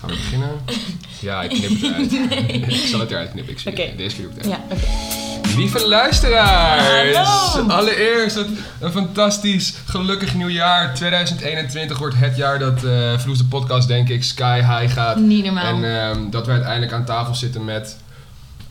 Gaan we beginnen? Ja, ik knip het eruit. ik zal het eruit knippen. Ik zie Oké. het. Deze keer doe ik het eruit. Ja, oké. Lieve luisteraars! Hallo! Allereerst wat een fantastisch, gelukkig nieuwjaar. 2021 wordt het jaar dat eh Vloes de podcast, denk ik, sky high gaat. Niet normaal. En ehm, dat we uiteindelijk aan tafel zitten met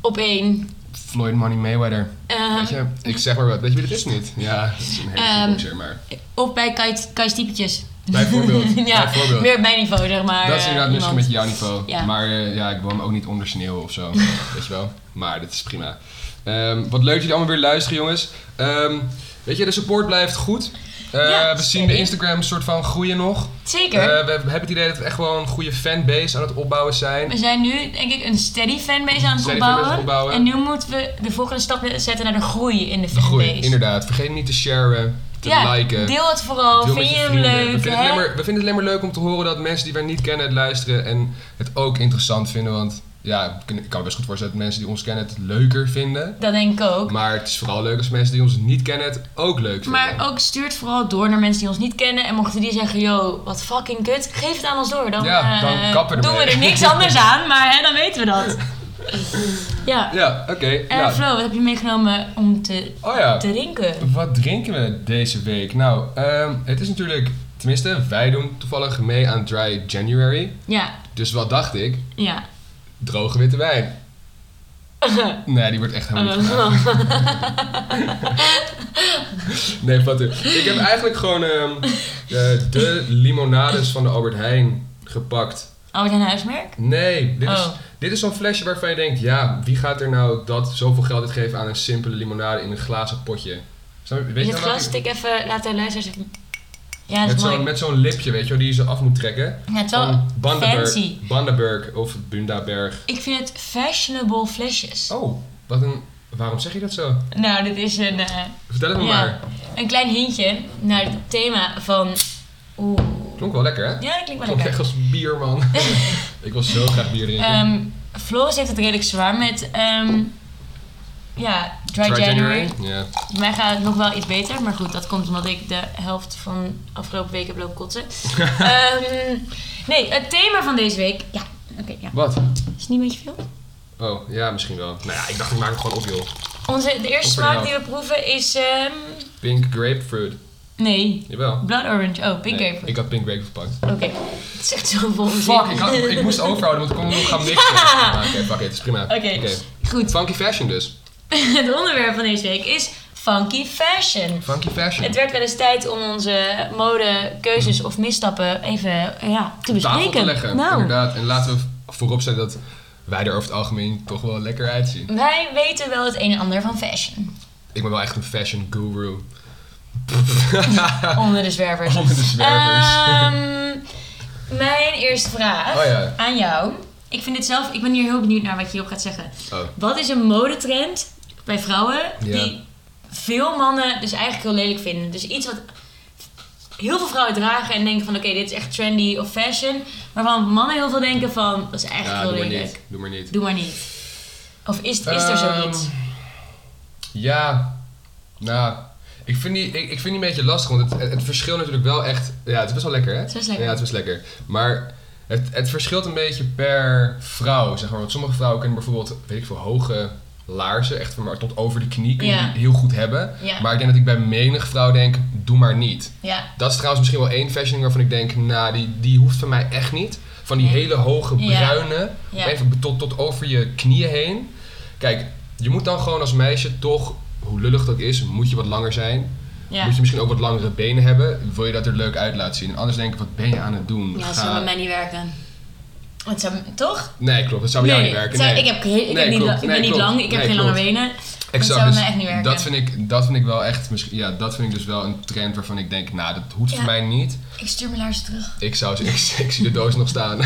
Op één. Floyd Money Mayweather. Ehm, Weet je, ik zeg maar wat. Weet je wie dat is niet? Ja, dat is een hele goede Ehm, boxer, maar... of bij Kai- Kai Stiepetjes. Bijvoorbeeld, ja, bijvoorbeeld. meer op mijn niveau, zeg maar. Dat is eh, inderdaad misschien iemand. met jouw niveau. Ja. Maar eh, ja, ik wil hem ook niet ondersneeuwen of zo. weet je wel? Maar dit is prima. Ehm, wat leuk dat jullie allemaal weer luisteren, jongens. Ehm, weet je, de support blijft goed. Eh, Ja, we zien zeker. de Instagram soort van groeien nog. Zeker. Eh, we hebben het idee dat we echt wel een goede fanbase aan het opbouwen zijn. we zijn nu, denk ik, een steady fanbase aan het Steady opbouwen. fanbase opbouwen. En nu moeten we de volgende stap zetten naar de groei in de De fanbase. groei, inderdaad. Vergeet niet te sharen, te ja, liken. deel het vooral. Deel met Vind je hem vrienden. we, leuk? vinden het alleen hè? maar, we vinden het alleen maar leuk om te horen dat mensen die wij niet kennen het luisteren en het ook interessant vinden. Want ja, ik kan ik kan me best goed voorstellen dat mensen die ons kennen het leuker vinden. Dat denk ik ook. Maar het is vooral leuk als mensen die ons niet kennen het ook leuk vinden. Maar oh. ook stuurt vooral door naar mensen die ons niet kennen. En mochten die zeggen, yo, wat fucking kut, geef het aan ons door. Dan, Ja, dan eh, kappen we doen we ermee. er niks anders aan, maar hè, dan weten we dat. Ja. Ja, oké. En nou, Eh, Flo, wat heb je meegenomen om te oh ja, drinken? wat drinken we deze week? Nou, ehm, het is natuurlijk, tenminste, wij doen toevallig mee aan Dry January. Ja, Dus wat dacht ik? ja. Droge witte wijn. Nee, die wordt echt helemaal niet gedaan. Oh. Nee, wat Ik heb eigenlijk gewoon ehm, eh, de limonades van de Albert Heijn gepakt. Albert Heijn huismerk? Nee, dit is, Oh. dit is zo'n flesje waarvan je denkt, ja, wie gaat er nou dat zoveel geld uitgeven aan een simpele limonade in een glazen potje? Snap je- Weet Is je het wel glas? wat ik- Stik even, laat de luisteraars even... Ja, dat met is mooi. zo'n, met zo'n lipje, weet je wel, die je ze af moet trekken. Ja, het is wel Van Bandenburg, fancy. Bandenburg of Bundaberg. Ik vind het fashionable flesjes. Oh, wat een... Waarom zeg je dat zo? Nou, dit is een... eh, Vertel het me Ja. maar. Een klein hintje naar het thema van. Oeh. Klonk wel lekker, hè? Ja, dat klinkt wel Klonk lekker. echt als bier, man. ik wil zo graag bier drinken. Ehm Floris heeft het redelijk zwaar met. ehm, ja, Dry, Dry January. Ja. Bij mij gaat het nog wel iets beter, maar goed, dat komt omdat ik de helft van afgelopen week heb lopen kotsen. Ehm, nee, het thema van deze week. Ja, oké, ja. Wat? Is het niet een beetje veel? Oh, ja, misschien wel. Nou ja, ik dacht, ik maak het gewoon op, joh. Onze, de eerste Op en smaak af. die we proeven is. ehm, Pink grapefruit. nee, Jawel. Blood Orange. Oh, Pink Nee, Grapefruit. Ik had pink grapefruit gepakt. Oké, het is echt zoveel onzin. Fuck, ik, had- ik moest overhouden, want ik kon nog gaan mixen. Ja. Ah, Oké, fuck it, het is prima. Oké, goed. Funky fashion dus. Het onderwerp van deze week is funky fashion. Funky fashion. Het werd wel eens tijd om onze modekeuzes of misstappen even eh, ja, te bespreken. Tafel te leggen, nou, inderdaad. En laten we vooropstellen dat wij er over het algemeen toch wel lekker uitzien. wij weten wel het een en ander van fashion. Ik ben wel echt een fashion guru. Oh. Onder de zwervers. Onder de zwervers. Ehm, mijn eerste vraag Oh ja. aan jou. Ik vind dit zelf, ik ben hier heel benieuwd naar wat je hierop gaat zeggen. Oh. Wat is een modetrend bij vrouwen Ja. die veel mannen dus eigenlijk heel lelijk vinden? Dus iets wat heel veel vrouwen dragen en denken van oké, dit is echt trendy of fashion. Waarvan mannen heel veel denken van dat is Ja, eigenlijk doe heel maar lelijk. niet. Doe maar niet. Doe maar niet. Of is, is er zoiets? Ehm, Ja, nou, ik vind die, ik, ik vind die een beetje lastig, want het, het, het verschilt natuurlijk wel echt... Ja, het is best wel lekker, hè? is best lekker. Ja, het is best lekker. Maar het, het verschilt een beetje per vrouw, zeg maar. Want sommige vrouwen kunnen bijvoorbeeld, weet ik veel, hoge laarzen, echt van maar tot over de knie, kunnen Ja. die heel goed hebben. Ja. Maar ik denk dat ik bij menig vrouw denk, doe maar niet. Ja. Dat is trouwens misschien wel één fashioning waarvan ik denk, nou, die, die hoeft van mij echt niet. Van die Nee. hele hoge Ja. bruine, Ja. even tot, tot over je knieën heen. Kijk, je moet dan gewoon als meisje toch, hoe lullig dat is, moet je wat langer zijn. Ja. Moet je misschien ook wat langere benen hebben. Wil je dat er leuk uit laten zien? En anders denk ik, wat ben je aan het doen? ja, dat Ga- zou bij mij niet werken. Het zou, toch? Nee, klopt. Dat zou bij jou niet werken. het zou- nee. Ik, heb, geen- ik, Nee, heb niet, klopt. la- ik Nee, ben niet klopt. lang, ik heb Nee, geen lange klopt. benen. Exact, zou bij dus mij echt niet werken. Dat vind, ik, dat vind ik wel echt, misschien, ja, dat vind ik dus wel een trend waarvan ik denk, nou, dat hoeft voor Ja. mij niet. Ik stuur mijn laarzen terug. Ik, zou, ze- ik, ik zie de doos nog staan.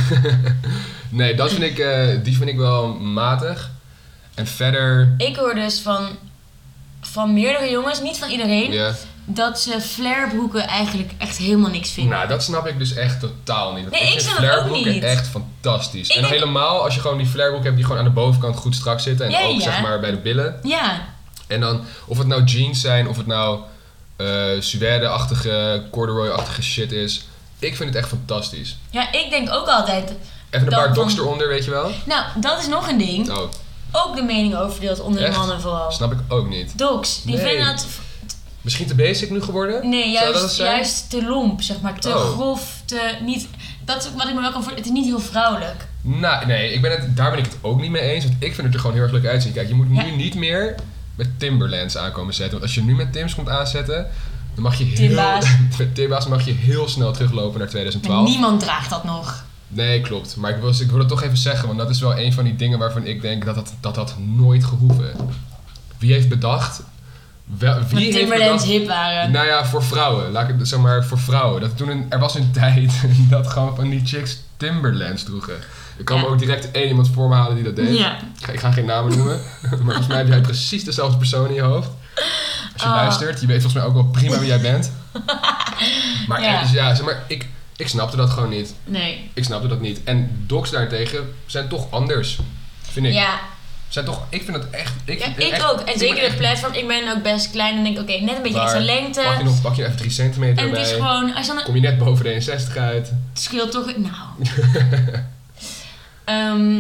nee, dat vind ik, eh, die vind ik wel matig. En verder, Ik hoor dus van, van meerdere jongens, niet van iedereen, ja. dat ze flarebroeken eigenlijk echt helemaal niks vinden. Nou, dat snap ik dus echt totaal niet. Want Nee, ik vind snap het ook flarebroeken niet. echt fantastisch. Ik en denk- helemaal als je gewoon die flarebroek hebt die gewoon aan de bovenkant goed strak zitten. En Ja, ook ja. zeg maar bij de billen. Ja, En dan, of het nou jeans zijn, of het nou eh suède-achtige, corduroy-achtige shit is. Ik vind het echt fantastisch. ja, ik denk ook altijd. Even een Dan- paar dan- docs eronder, weet je wel? Nou, dat is nog een ding. Oh, Ook de mening over verdeeld onder de Echt? mannen vooral. snap ik ook niet. Docs, die Nee. vinden dat... Misschien te basic nu geworden? Nee, Zou dat het juist, zijn? juist te lomp, zeg maar. Te Oh. grof, te niet... Dat is wat ik me wel kan voor. Het is niet heel vrouwelijk. Nou, nee, ik ben het, daar ben ik het ook niet mee eens. Want ik vind het er gewoon heel erg leuk uitzien. Kijk, je moet nu Ja. niet meer met Timberlands aankomen zetten. Want als je nu met Tims komt aanzetten, dan mag je heel... Timba's. met Timba's mag je heel snel teruglopen naar Maar 2012. niemand draagt dat nog. Nee, klopt. Maar ik wil, ik wil het toch even zeggen, want dat is wel een van die dingen waarvan ik denk dat dat, dat, had nooit gehoeven. Wie heeft bedacht... Wel, wie Wie heeft Timberlands bedacht... hip waren. Nou ja, voor vrouwen. Laat ik het zeg maar voor vrouwen. Dat toen een- er was een tijd dat gewoon van die chicks Timberlands droegen. Ik kan me Ja. ook direct één iemand voor me halen die dat deed. Ja. Ik ga- Ik ga geen namen noemen, maar volgens mij heb jij precies dezelfde persoon in je hoofd. Als je Ah. luistert, je weet volgens mij ook wel prima wie jij bent. Maar Ja. ja, ja zeg maar, ik, ik snapte dat gewoon niet. Nee. Ik snapte dat niet. En docs daarentegen zijn toch anders, vind ik. Ja, Zijn toch, ik vind het echt... Ik, Ja, vind ik echt- ook. En ik zeker ben het echt platform. Ik ben ook best klein en denk, oké, net een beetje waar. extra lengte. Pak je, nog, pak je even 3 centimeter en het is erbij. gewoon, als je dan Kom je net boven de 61 uit. het scheelt toch, nou. Ehm,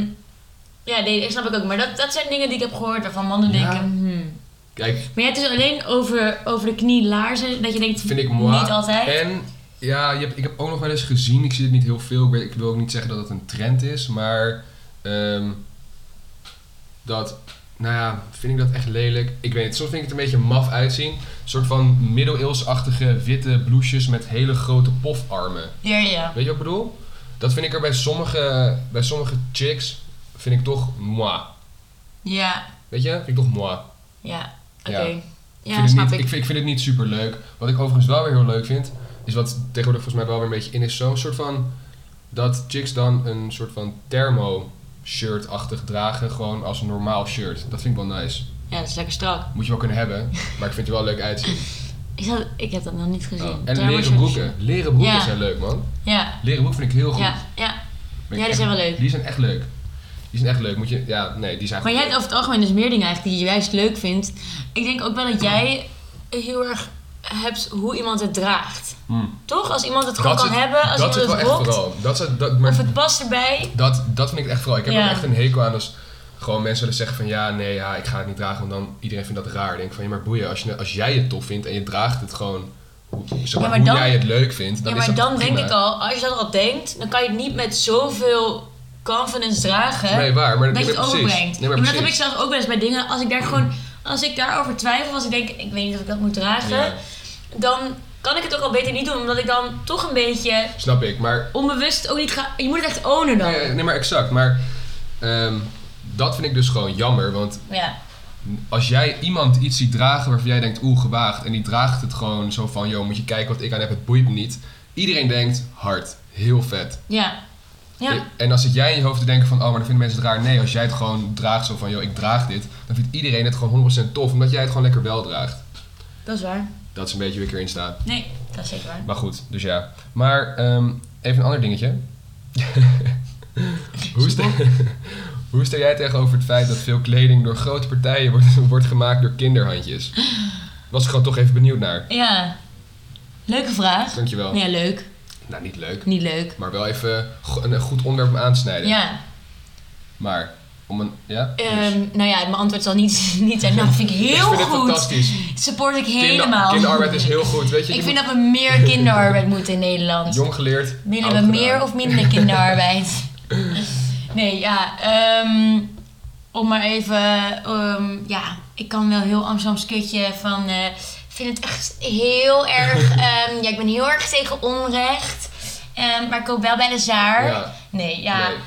ja, nee, dat snap ik ook. Maar dat, dat zijn dingen die ik heb gehoord waarvan mannen Ja. denken, hmm. Kijk, Maar ja, het is alleen over, over de knie laarzen dat je denkt, vind ik mooi. niet altijd. En ja, je hebt, ik heb ook nog wel eens gezien, ik zie het niet heel veel, ik, weet- ik wil ook niet zeggen dat het een trend is, maar ehm, dat, nou ja, vind ik dat echt lelijk. Ik weet het, soms vind ik het een beetje maf uitzien. Een soort van middeleeuwsachtige witte blouses met hele grote pofarmen. Ja, ja. Weet je wat ik bedoel? Dat vind ik er bij sommige, bij sommige chicks, vind ik toch moi. Ja, Weet je? Vind ik toch moi. ja. Oké. Ja. Ja, Ik vind het snap niet- ik. vind, ik vind het niet super leuk. Wat ik overigens wel weer heel leuk vind, is wat tegenwoordig volgens mij wel weer een beetje in is. Zo'n soort van. Dat chicks dan een soort van thermo-shirt-achtig dragen, gewoon als een normaal shirt. Dat vind ik wel nice. Ja, dat is lekker strak. Moet je wel kunnen hebben, maar ik vind het er wel leuk uitzien. Ik, had, ik heb dat nog niet gezien. Oh, En Thermos- leren broeken. Leren broeken Ja. zijn leuk, man. Ja, Leren broeken vind ik heel goed. ja, Ben ja. ik Ja, die echt- zijn wel leuk. Die zijn echt leuk. Die zijn echt leuk. Moet je, ja, nee, die zijn Maar jij gewoon hebt over het algemeen dus meer dingen eigenlijk die je juist leuk vindt. Ik denk ook wel dat jij heel erg hebt hoe iemand het draagt. leuk. Hmm. Toch? Als iemand het Dat gewoon is kan het- hebben, als dat is iemand het wel het echt rokt, vooral. Dat is het, dat, maar of het past erbij. Dat, dat vind ik echt vooral. Ik heb Ja. ook echt een hekel aan als gewoon mensen willen zeggen van ja, nee, ja, ik ga het niet dragen, want dan iedereen vindt dat raar. Ik denk van ja, maar boeien, als, je, als jij het tof vindt en je draagt het gewoon hoe- zeg maar, Ja, maar hoe dan- jij het leuk vindt, dan ja, is maar dat dan denk prima. ik al, als je dat al denkt, dan kan je het niet met zoveel confidence dragen Nee, waar, maar dat je nee, het maar precies. overbrengt. Nee, maar maar dat heb ik precies. Hmm. zelf ook wel eens bij dingen. Als ik daar gewoon, als ik daarover twijfel, als ik denk, ik weet niet of ik dat moet dragen, Ja, dan kan ik het ook al beter niet doen, omdat ik dan toch een beetje snap ik, maar onbewust ook niet ga. Je moet het echt ownen dan. nee, nee, maar exact. Maar ehm, dat vind ik dus gewoon jammer, want Ja, als jij iemand iets ziet dragen waarvan jij denkt, oeh, gewaagd, en die draagt het gewoon zo van, joh, moet je kijken wat ik aan heb, het boeit me niet. Iedereen denkt, hard, heel vet. ja. Ja, En dan zit jij in je hoofd te denken van, oh, maar dan vinden mensen het raar. Nee, als jij het gewoon draagt, zo van, joh, ik draag dit, dan vindt iedereen het gewoon 100% tof, omdat jij het gewoon lekker wel draagt. dat is waar. Dat is een beetje hoe ik erin sta. Nee, dat is zeker waar. Maar goed, dus ja. Maar ehm, even een ander dingetje. hoe, sta, hoe sta jij tegenover het feit dat veel kleding door grote partijen wordt, wordt gemaakt door kinderhandjes? Was ik gewoon toch even benieuwd naar. Ja, leuke vraag. Dankjewel. Ja, leuk. Nou, niet leuk. Niet leuk. Maar wel even go- een goed onderwerp om aan te snijden. Ja, Maar, om een... Ja? Dus. ehm, nou ja, mijn antwoord zal niet, niet zijn. Nou, dat vind ik ik heel vind het goed. fantastisch. Support ik Kinder- helemaal. kinderarbeid is heel goed, weet je. Ik je vind moet dat we meer kinderarbeid moeten in Nederland. Jong geleerd. Willen oud we gedaan. meer of minder kinderarbeid? Nee, ja. ehm, om maar even... ehm, ja, ik kan wel heel Amsterdams kutje van... eh, Ik vind het echt heel erg... ehm, ja, ik ben heel erg tegen onrecht. Ehm, maar ik koop wel bij de zaar. Ja. Nee, ja. Nee.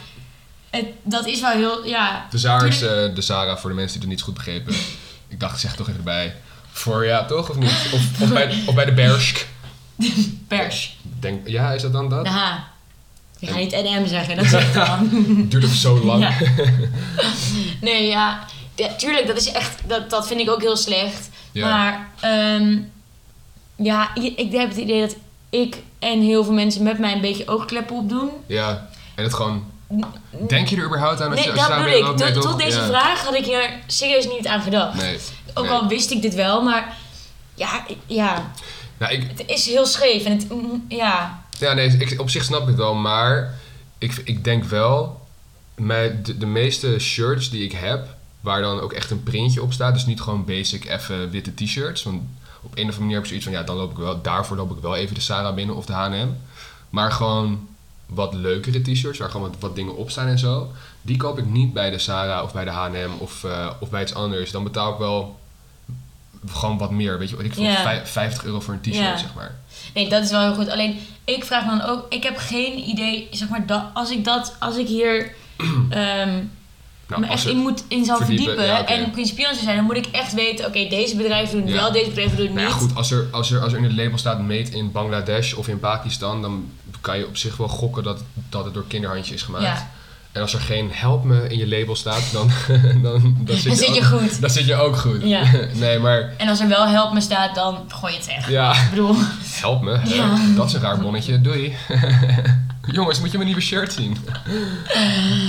Het, dat is wel heel... Ja. De Zara is eh, de Zara voor de mensen die het niet goed begrepen. Ik dacht, ik zeg het toch even erbij. Voor ja, toch of niet? Of, of, bij, of bij de Bersk. Pers. Denk, ja, is dat dan dat? De H. Je gaat niet NM zeggen, dat zegt dan. Het duurt ook zo lang. Ja. Nee, ja. ja. Tuurlijk, dat is echt... Dat, dat vind ik ook heel slecht. Ja. Maar, ehm, ja, i- ik heb het idee dat ik en heel veel mensen met mij een beetje oogkleppen opdoen. Ja. En het gewoon. Denk je er überhaupt aan als Nee, je als dat je daar bedoel binnen ik. loopt? Nee, Tot, toch? tot deze Ja. vraag had ik hier serieus niet aan gedacht. Nee. Ook nee. al wist ik dit wel, maar... Ja, ik- ja, Nou, ik, het is heel scheef en het... mm, Ja, ja, nee, ik, op zich snap ik het wel, maar ik, ik denk wel, mij- de, de meeste shirts die ik heb, waar dan ook echt een printje op staat, dus niet gewoon basic even witte t-shirts. Want op een of andere manier heb ik zoiets van, ja, dan loop ik wel, daarvoor loop ik wel even de Sarah binnen of de H&M. Maar gewoon wat leukere t-shirts, waar gewoon wat, wat dingen op staan en zo. Die koop ik niet bij de Sarah of bij de H&M of, eh, of bij iets anders. Dan betaal ik wel gewoon wat meer, weet je. wat Ik vond Ja. vij- 50 euro voor een t-shirt, Ja. zeg maar. Nee, dat is wel heel goed. Alleen, ik vraag me dan ook... Ik heb geen idee, zeg maar, dat, als ik dat... Als ik hier ehm Nou, me als echt het- in, moet, in zou verdiepen, verdiepen... ja, oké. en principieel zou zijn, dan moet ik echt weten... Oké, deze bedrijven doen het Ja. wel, deze bedrijven doen het Nou ja, niet. goed, als er, als, er, als er in het label staat made in Bangladesh of in Pakistan, dan kan je op zich wel gokken dat, dat het door kinderhandje is gemaakt. Ja. En als er geen help me in je label staat, dan, dan, dan zit, Dan zit ook, je goed. Dan zit je ook goed. Ja. nee, maar En als er wel help me staat, dan gooi je het weg. ja, Ik bedoel, help me. hè. Ja. Dat is een raar bonnetje. Doei. Jongens, moet je mijn nieuwe shirt zien?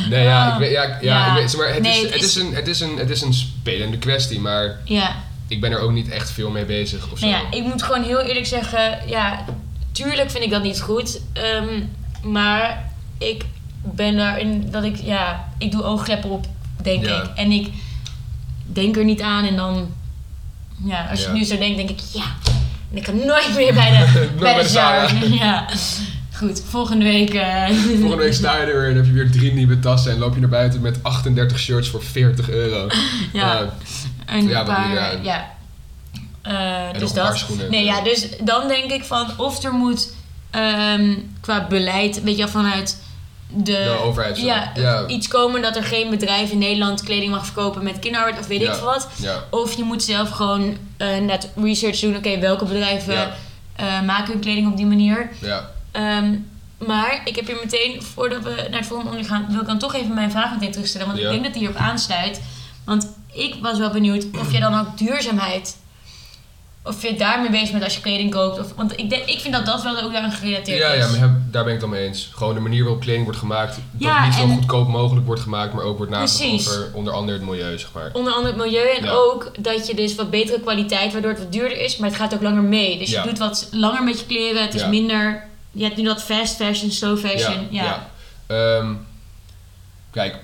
Nee, ja, Eh, Oh. ik weet, ja, ik- ja, Ja. Ik weet, maar het, Nee, is, het het, is is- een, het, is een, het is een spelende kwestie, maar ja. ik ben er ook niet echt veel mee bezig of zo. Nou ja, ik moet gewoon heel eerlijk zeggen, ja, tuurlijk vind ik dat niet goed. ehm, maar ik ben daarin dat ik, ja, ik doe oogkleppen op, denk Ja. ik. En ik denk er niet aan en dan, ja, als je Ja. het nu zo denkt, denk ik, ja, en ik ga nooit meer bij de, Nooit bij bij de de Zara. Zara. ja. Goed, volgende week. eh, Volgende week sta je er weer en heb je weer drie nieuwe tassen en loop je naar buiten met 38 shirts voor 40 euro. ja, Ja, een ja, dat paar, doe je ja. aan. Eh, en nog dus een paar dat. schoenen. eh. Nee, ja, dus dan denk ik van of er moet ehm, qua beleid, weet je wel, vanuit de, De overheid zo. Ja, Ja. iets komen dat er geen bedrijf in Nederland kleding mag verkopen met kinderarbeid of weet Ja. ik veel wat. Ja, Of je moet zelf gewoon eh, net research doen, oké, welke bedrijven Ja. eh, maken hun kleding op die manier. ja, Ehm, maar ik heb hier meteen, voordat we naar het volgende onderwerp gaan, wil ik dan toch even mijn vraag meteen terugstellen. Want Ja. ik denk dat die hierop aansluit. Want ik was wel benieuwd of je dan ook duurzaamheid. Of je daarmee bezig bent als je kleding koopt. Of, want ik, denk, ik vind dat dat wel ook daaraan gerelateerd ja, is. ja maar heb- daar ben ik het al mee eens. Gewoon de manier waarop kleding wordt gemaakt, dat Ja, het niet zo en- goedkoop mogelijk wordt gemaakt, maar ook wordt nagedacht Precies. over onder andere het milieu, zeg maar. Onder andere het milieu en Ja. ook dat je dus wat betere kwaliteit, waardoor het wat duurder is, maar het gaat ook langer mee. Dus Ja. je doet wat langer met je kleren, het is Ja. minder. Je hebt nu dat fast fashion, slow fashion. Ja, ja. Ehm, kijk,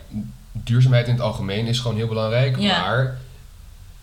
duurzaamheid in het algemeen is gewoon heel belangrijk. Ja. Maar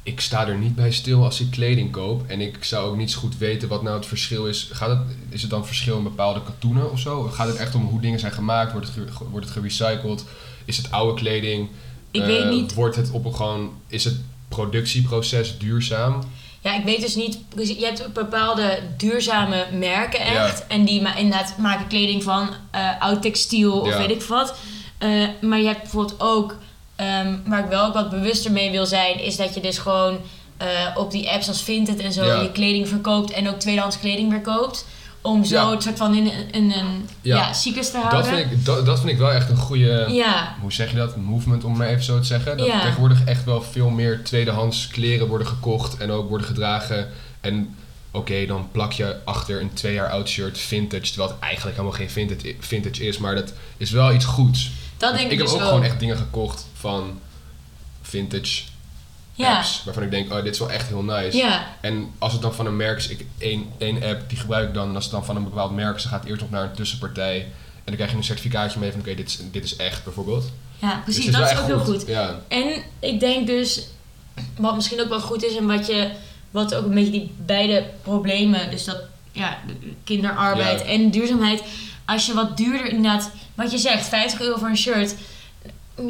ik sta er niet bij stil als ik kleding koop. En ik zou ook niet zo goed weten wat nou het verschil is. Gaat het, is het dan verschil in bepaalde katoenen of zo? Of gaat het echt om hoe dingen zijn gemaakt? Wordt het, ge- wordt het gerecycled? Is het oude kleding? Ik Eh, weet niet. Wordt het op een gewoon... Is het productieproces duurzaam? Ja, ik weet dus niet. dus Je hebt bepaalde duurzame merken Ja. echt. En die ma inderdaad maken kleding van eh, oud textiel of Ja. weet ik wat. Eh, maar je hebt bijvoorbeeld ook, ehm, waar ik wel ook wat bewuster mee wil zijn, is dat je dus gewoon eh, op die apps als Vinted en zo Ja. je kleding verkoopt en ook tweedehands kleding weer koopt. Om zo Ja. het soort van in, een- in een Ja. ja. cyclus te houden. Dat vind, ik, dat, dat vind ik wel echt een goede... Ja, hoe zeg je dat, movement om maar even zo te zeggen. Dat Ja. tegenwoordig echt wel veel meer tweedehands kleren worden gekocht en ook worden gedragen. En oké, dan plak je achter een twee jaar oud shirt vintage, terwijl het eigenlijk helemaal geen vintage, vintage is. Maar dat is wel iets goeds. dat denk ik, ik heb dus ook gewoon echt dingen gekocht van vintage ja. apps, waarvan ik denk, oh dit is wel echt heel nice. ja, En als het dan van een merk is, ik, één, één app die gebruik ik dan. En als het dan van een bepaald merk is, dan gaat het eerst nog naar een tussenpartij. En dan krijg je een certificaatje mee van oké, dit, is, dit is echt bijvoorbeeld. ja, precies. Dus het dat is wel ook echt heel goed. Ja, En ik denk dus, wat misschien ook wel goed is en wat je, wat ook een beetje die beide problemen, dus dat ja, kinderarbeid Ja. en duurzaamheid, als je wat duurder inderdaad, wat je zegt, 50 euro voor een shirt,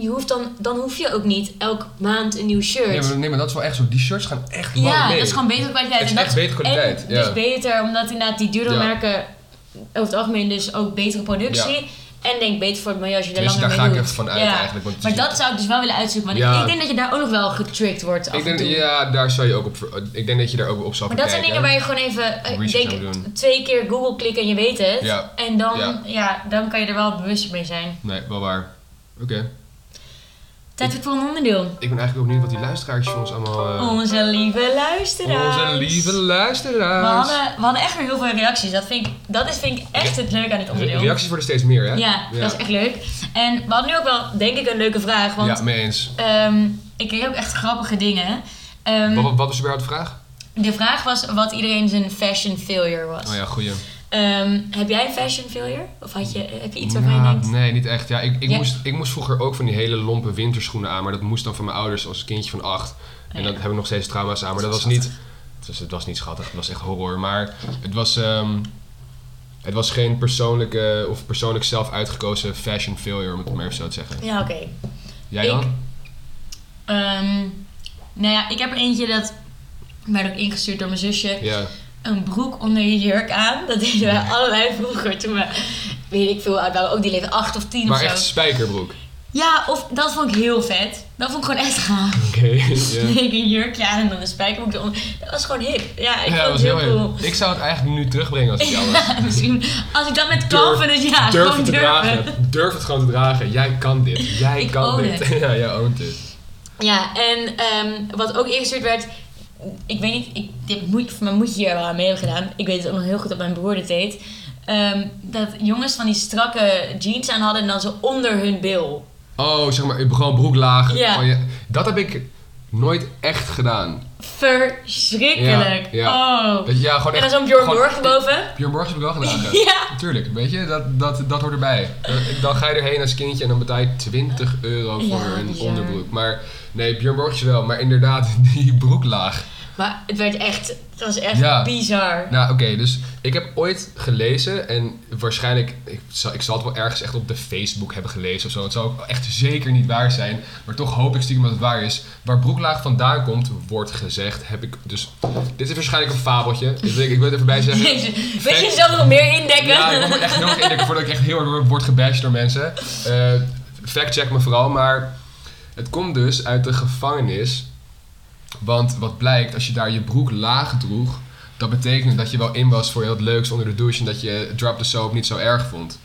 je hoeft dan, dan hoef je ook niet elke maand een nieuw nee shirt. maar, nee, maar dat is wel echt zo. Die shirts gaan echt lang Ja, mee. dat is gewoon betere kwaliteit. Het is en dat echt betere kwaliteit, En ja. dus beter, omdat inderdaad die duurdere Ja. merken over het algemeen dus ook betere productie. En denk beter voor het milieu als je er Tenminste, langer daar mee ga ik doet. echt van uit Ja. eigenlijk. Want Maar je- dat zou ik dus wel willen uitzoeken. Want Ja. ik, ik denk dat je daar ook nog wel getricked wordt af ik en denk, toe. ja, daar zou je ook op. ver- Ik denk dat je daar ook op zou Maar dat zijn kijken. dingen waar je gewoon even, eh, ik Research denk, aan doen. twee keer Google klikken en je weet het. Ja. En dan, Ja. ja. dan kan je er wel bewust mee zijn. Nee, wel waar. Oké. Tijd voor het volgende onderdeel. Ik ben eigenlijk ook benieuwd wat die luisteraars van ons allemaal... eh, Onze lieve luisteraars. onze lieve we luisteraars. hadden, we hadden echt weer heel veel reacties. Dat vind ik, dat is, vind ik echt het leuke aan dit Re- onderdeel. reacties worden steeds meer, hè? Ja, dat is echt leuk. En we hadden nu ook wel, denk ik, een leuke vraag. Want Ja, mee eens. ehm, ik kreeg ook echt grappige dingen. Ehm, Wat, wat was überhaupt de vraag? de vraag was wat iedereen zijn fashion failure was. Oh ja, goeie. Ehm, heb jij een fashion failure? Of had je, heb je iets waarvan je Nou, denkt... Nee, niet echt. Ja, ik, ik, Ja. Moest, ik moest vroeger ook van die hele lompe winterschoenen aan, maar dat moest dan van mijn ouders als kindje van acht. En Oh ja. dat hebben we nog steeds trauma's aan, maar dat was niet. Dus het was niet schattig, het was echt horror. Maar het was, ehm, het was geen persoonlijke of persoonlijk zelf uitgekozen fashion failure, om het maar even zo te zeggen. Ja, oké. Jij Ik- dan? Ehm, nou ja, ik heb er eentje dat... werd ook ingestuurd door mijn zusje. Ja. Een broek onder je jurk aan. Dat deden wij allebei vroeger toen we... Weet ik veel oud waren. Ook die leeftijd acht of tien Maar of zo. echt spijkerbroek. Ja, of dat vond ik heel vet. Dat vond ik gewoon echt gaaf. Oké. ja. Nee, een jurkje aan en dan een spijkerbroek eronder. Dat was gewoon hip. Ja, ik Ja, dat vond was het heel heel cool. erg. Ik zou het eigenlijk nu terugbrengen als ik jou was. Ja, misschien. Als ik dat met Durf- kan, vind ik het ja, Durf gewoon het te durven. dragen. Durf het gewoon te dragen. Jij kan dit. Jij Ik kan own dit. ja, jij oont het. Ja, en ehm, wat ook ingestuurd werd, ik weet niet, ik, dit moet, mijn moedje hier wel aan mee hebben gedaan. Ik weet het ook nog heel goed dat mijn broer dit deed. Ehm, dat jongens van die strakke jeans aan hadden en dan zo onder hun bil. Oh, zeg maar, gewoon broeklaag. Ja. Oh, Dat heb ik nooit echt gedaan. Verschrikkelijk. Ja, ja. Oh. Weet je, Ja, gewoon En dan echt... zo'n Bjorn gewoon- Borg boven. Bjorn Borg heb ik wel gedaan. ja. Ja. Tuurlijk, weet je, dat, dat, dat hoort erbij. Eh, Dan ga je erheen als kindje en dan betaal je 20 euro voor Ja, een bizar. onderbroek. Maar nee, Bjorn Borg is wel, maar inderdaad, die broeklaag. Maar het werd echt, het was echt Ja. bizar. Nou, oké, dus ik heb ooit gelezen en waarschijnlijk, ik zal, ik zal het wel ergens echt op de Facebook hebben gelezen of zo. Het zou ook echt zeker niet waar zijn, maar toch hoop ik stiekem dat het waar is. Waar broeklaag vandaan komt, wordt gezegd, heb ik dus. Dit is waarschijnlijk een fabeltje. Ik wil, ik wil het even bij zeggen. Jezus, Weet je zelf nog meer indekken? Ja, ik moet me echt heel erg indekken voordat ik echt heel hard word gebashed door mensen. Eh, Fact-check me vooral, maar het komt dus uit de gevangenis. Want wat blijkt, als je daar je broek laag droeg, dat betekende dat je wel in was voor heel het leuks onder de douche en dat je drop the soap niet zo erg vond.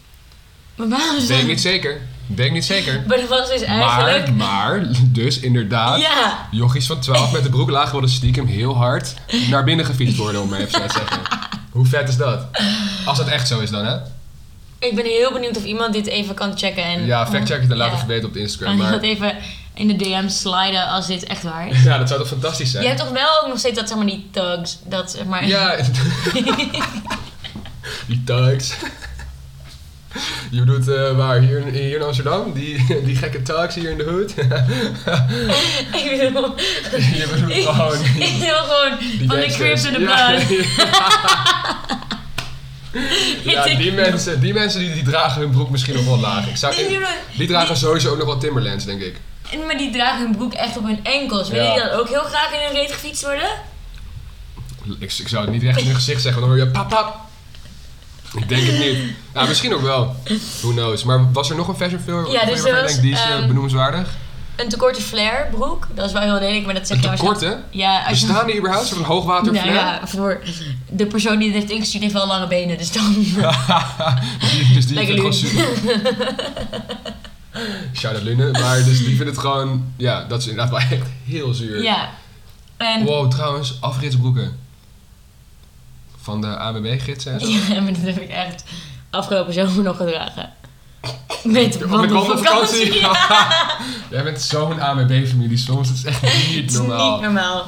maar waarom Weet zou ik niet zeker. Weet ik niet zeker. Maar dat was dus eigenlijk... Maar, maar, dus inderdaad. Ja, Jochies van 12 met de broek laag wilden stiekem heel hard naar binnen gefietst worden, om maar even zo te zeggen. Hoe vet is dat? Als dat echt zo is dan, hè? ik ben heel benieuwd of iemand dit even kan checken. En, Ja, factcheck het en laat Oh. het Ja. even weten op de Instagram. Kan je dat Maar, even in de DM sliden als dit echt waar is? ja, dat zou toch fantastisch zijn? Je hebt toch wel ook nog steeds dat, zeg maar, die thugs, dat, zeg maar... Ja. die tugs. Je bedoelt eh, waar? Hier, in- hier in Amsterdam? Die, die gekke tugs hier in de hood? ik bedoel... Je bedoelt gewoon- Ik bedoel gewoon Die van de gangsters. Crips en de Ja, Bloods. Ja, ja, die, mensen, die mensen die, die dragen hun broek misschien nog wel laag. Ik zou, Nee, die doen- die dragen sowieso ook nog wel Timberlands, denk ik. En- Maar die dragen hun broek echt op hun enkels. Wil Ja. je dan ook heel graag in hun reet gefietst worden? Ik, ik zou het niet recht in hun gezicht zeggen, want dan hoor je pap pap. Ik denk het niet. Ja, misschien ook wel. Who knows. Maar was er nog een fashion film Ja, dus waarvan je er was, denkt, die is eh, ehm, benoemenswaardig? Een tekorte flare broek. Dat is wel heel lelijk, maar dat zeg Een je waarschijnlijk- tekort, hè? Ja, als je... Bestaan die überhaupt? Zo'n hoogwaterflare? Nou ja, voor de persoon die dit heeft ingestuurd heeft wel lange benen, dus dan... Die- dus die Lekker vindt het gewoon Lien. super. Shout out Lune. Maar dus die vindt het gewoon... Ja, dat is inderdaad wel echt heel zuur. Ja. En... Wow, trouwens, afritsbroeken. Van de ABB-gidsen en zo. Ja, maar dat heb ik echt afgelopen zomer nog gedragen. Met wandelvakantie. wandelvakantie. Jij bent zo'n ABB-familie soms. Dat dus is echt Het niet is normaal. niet normaal.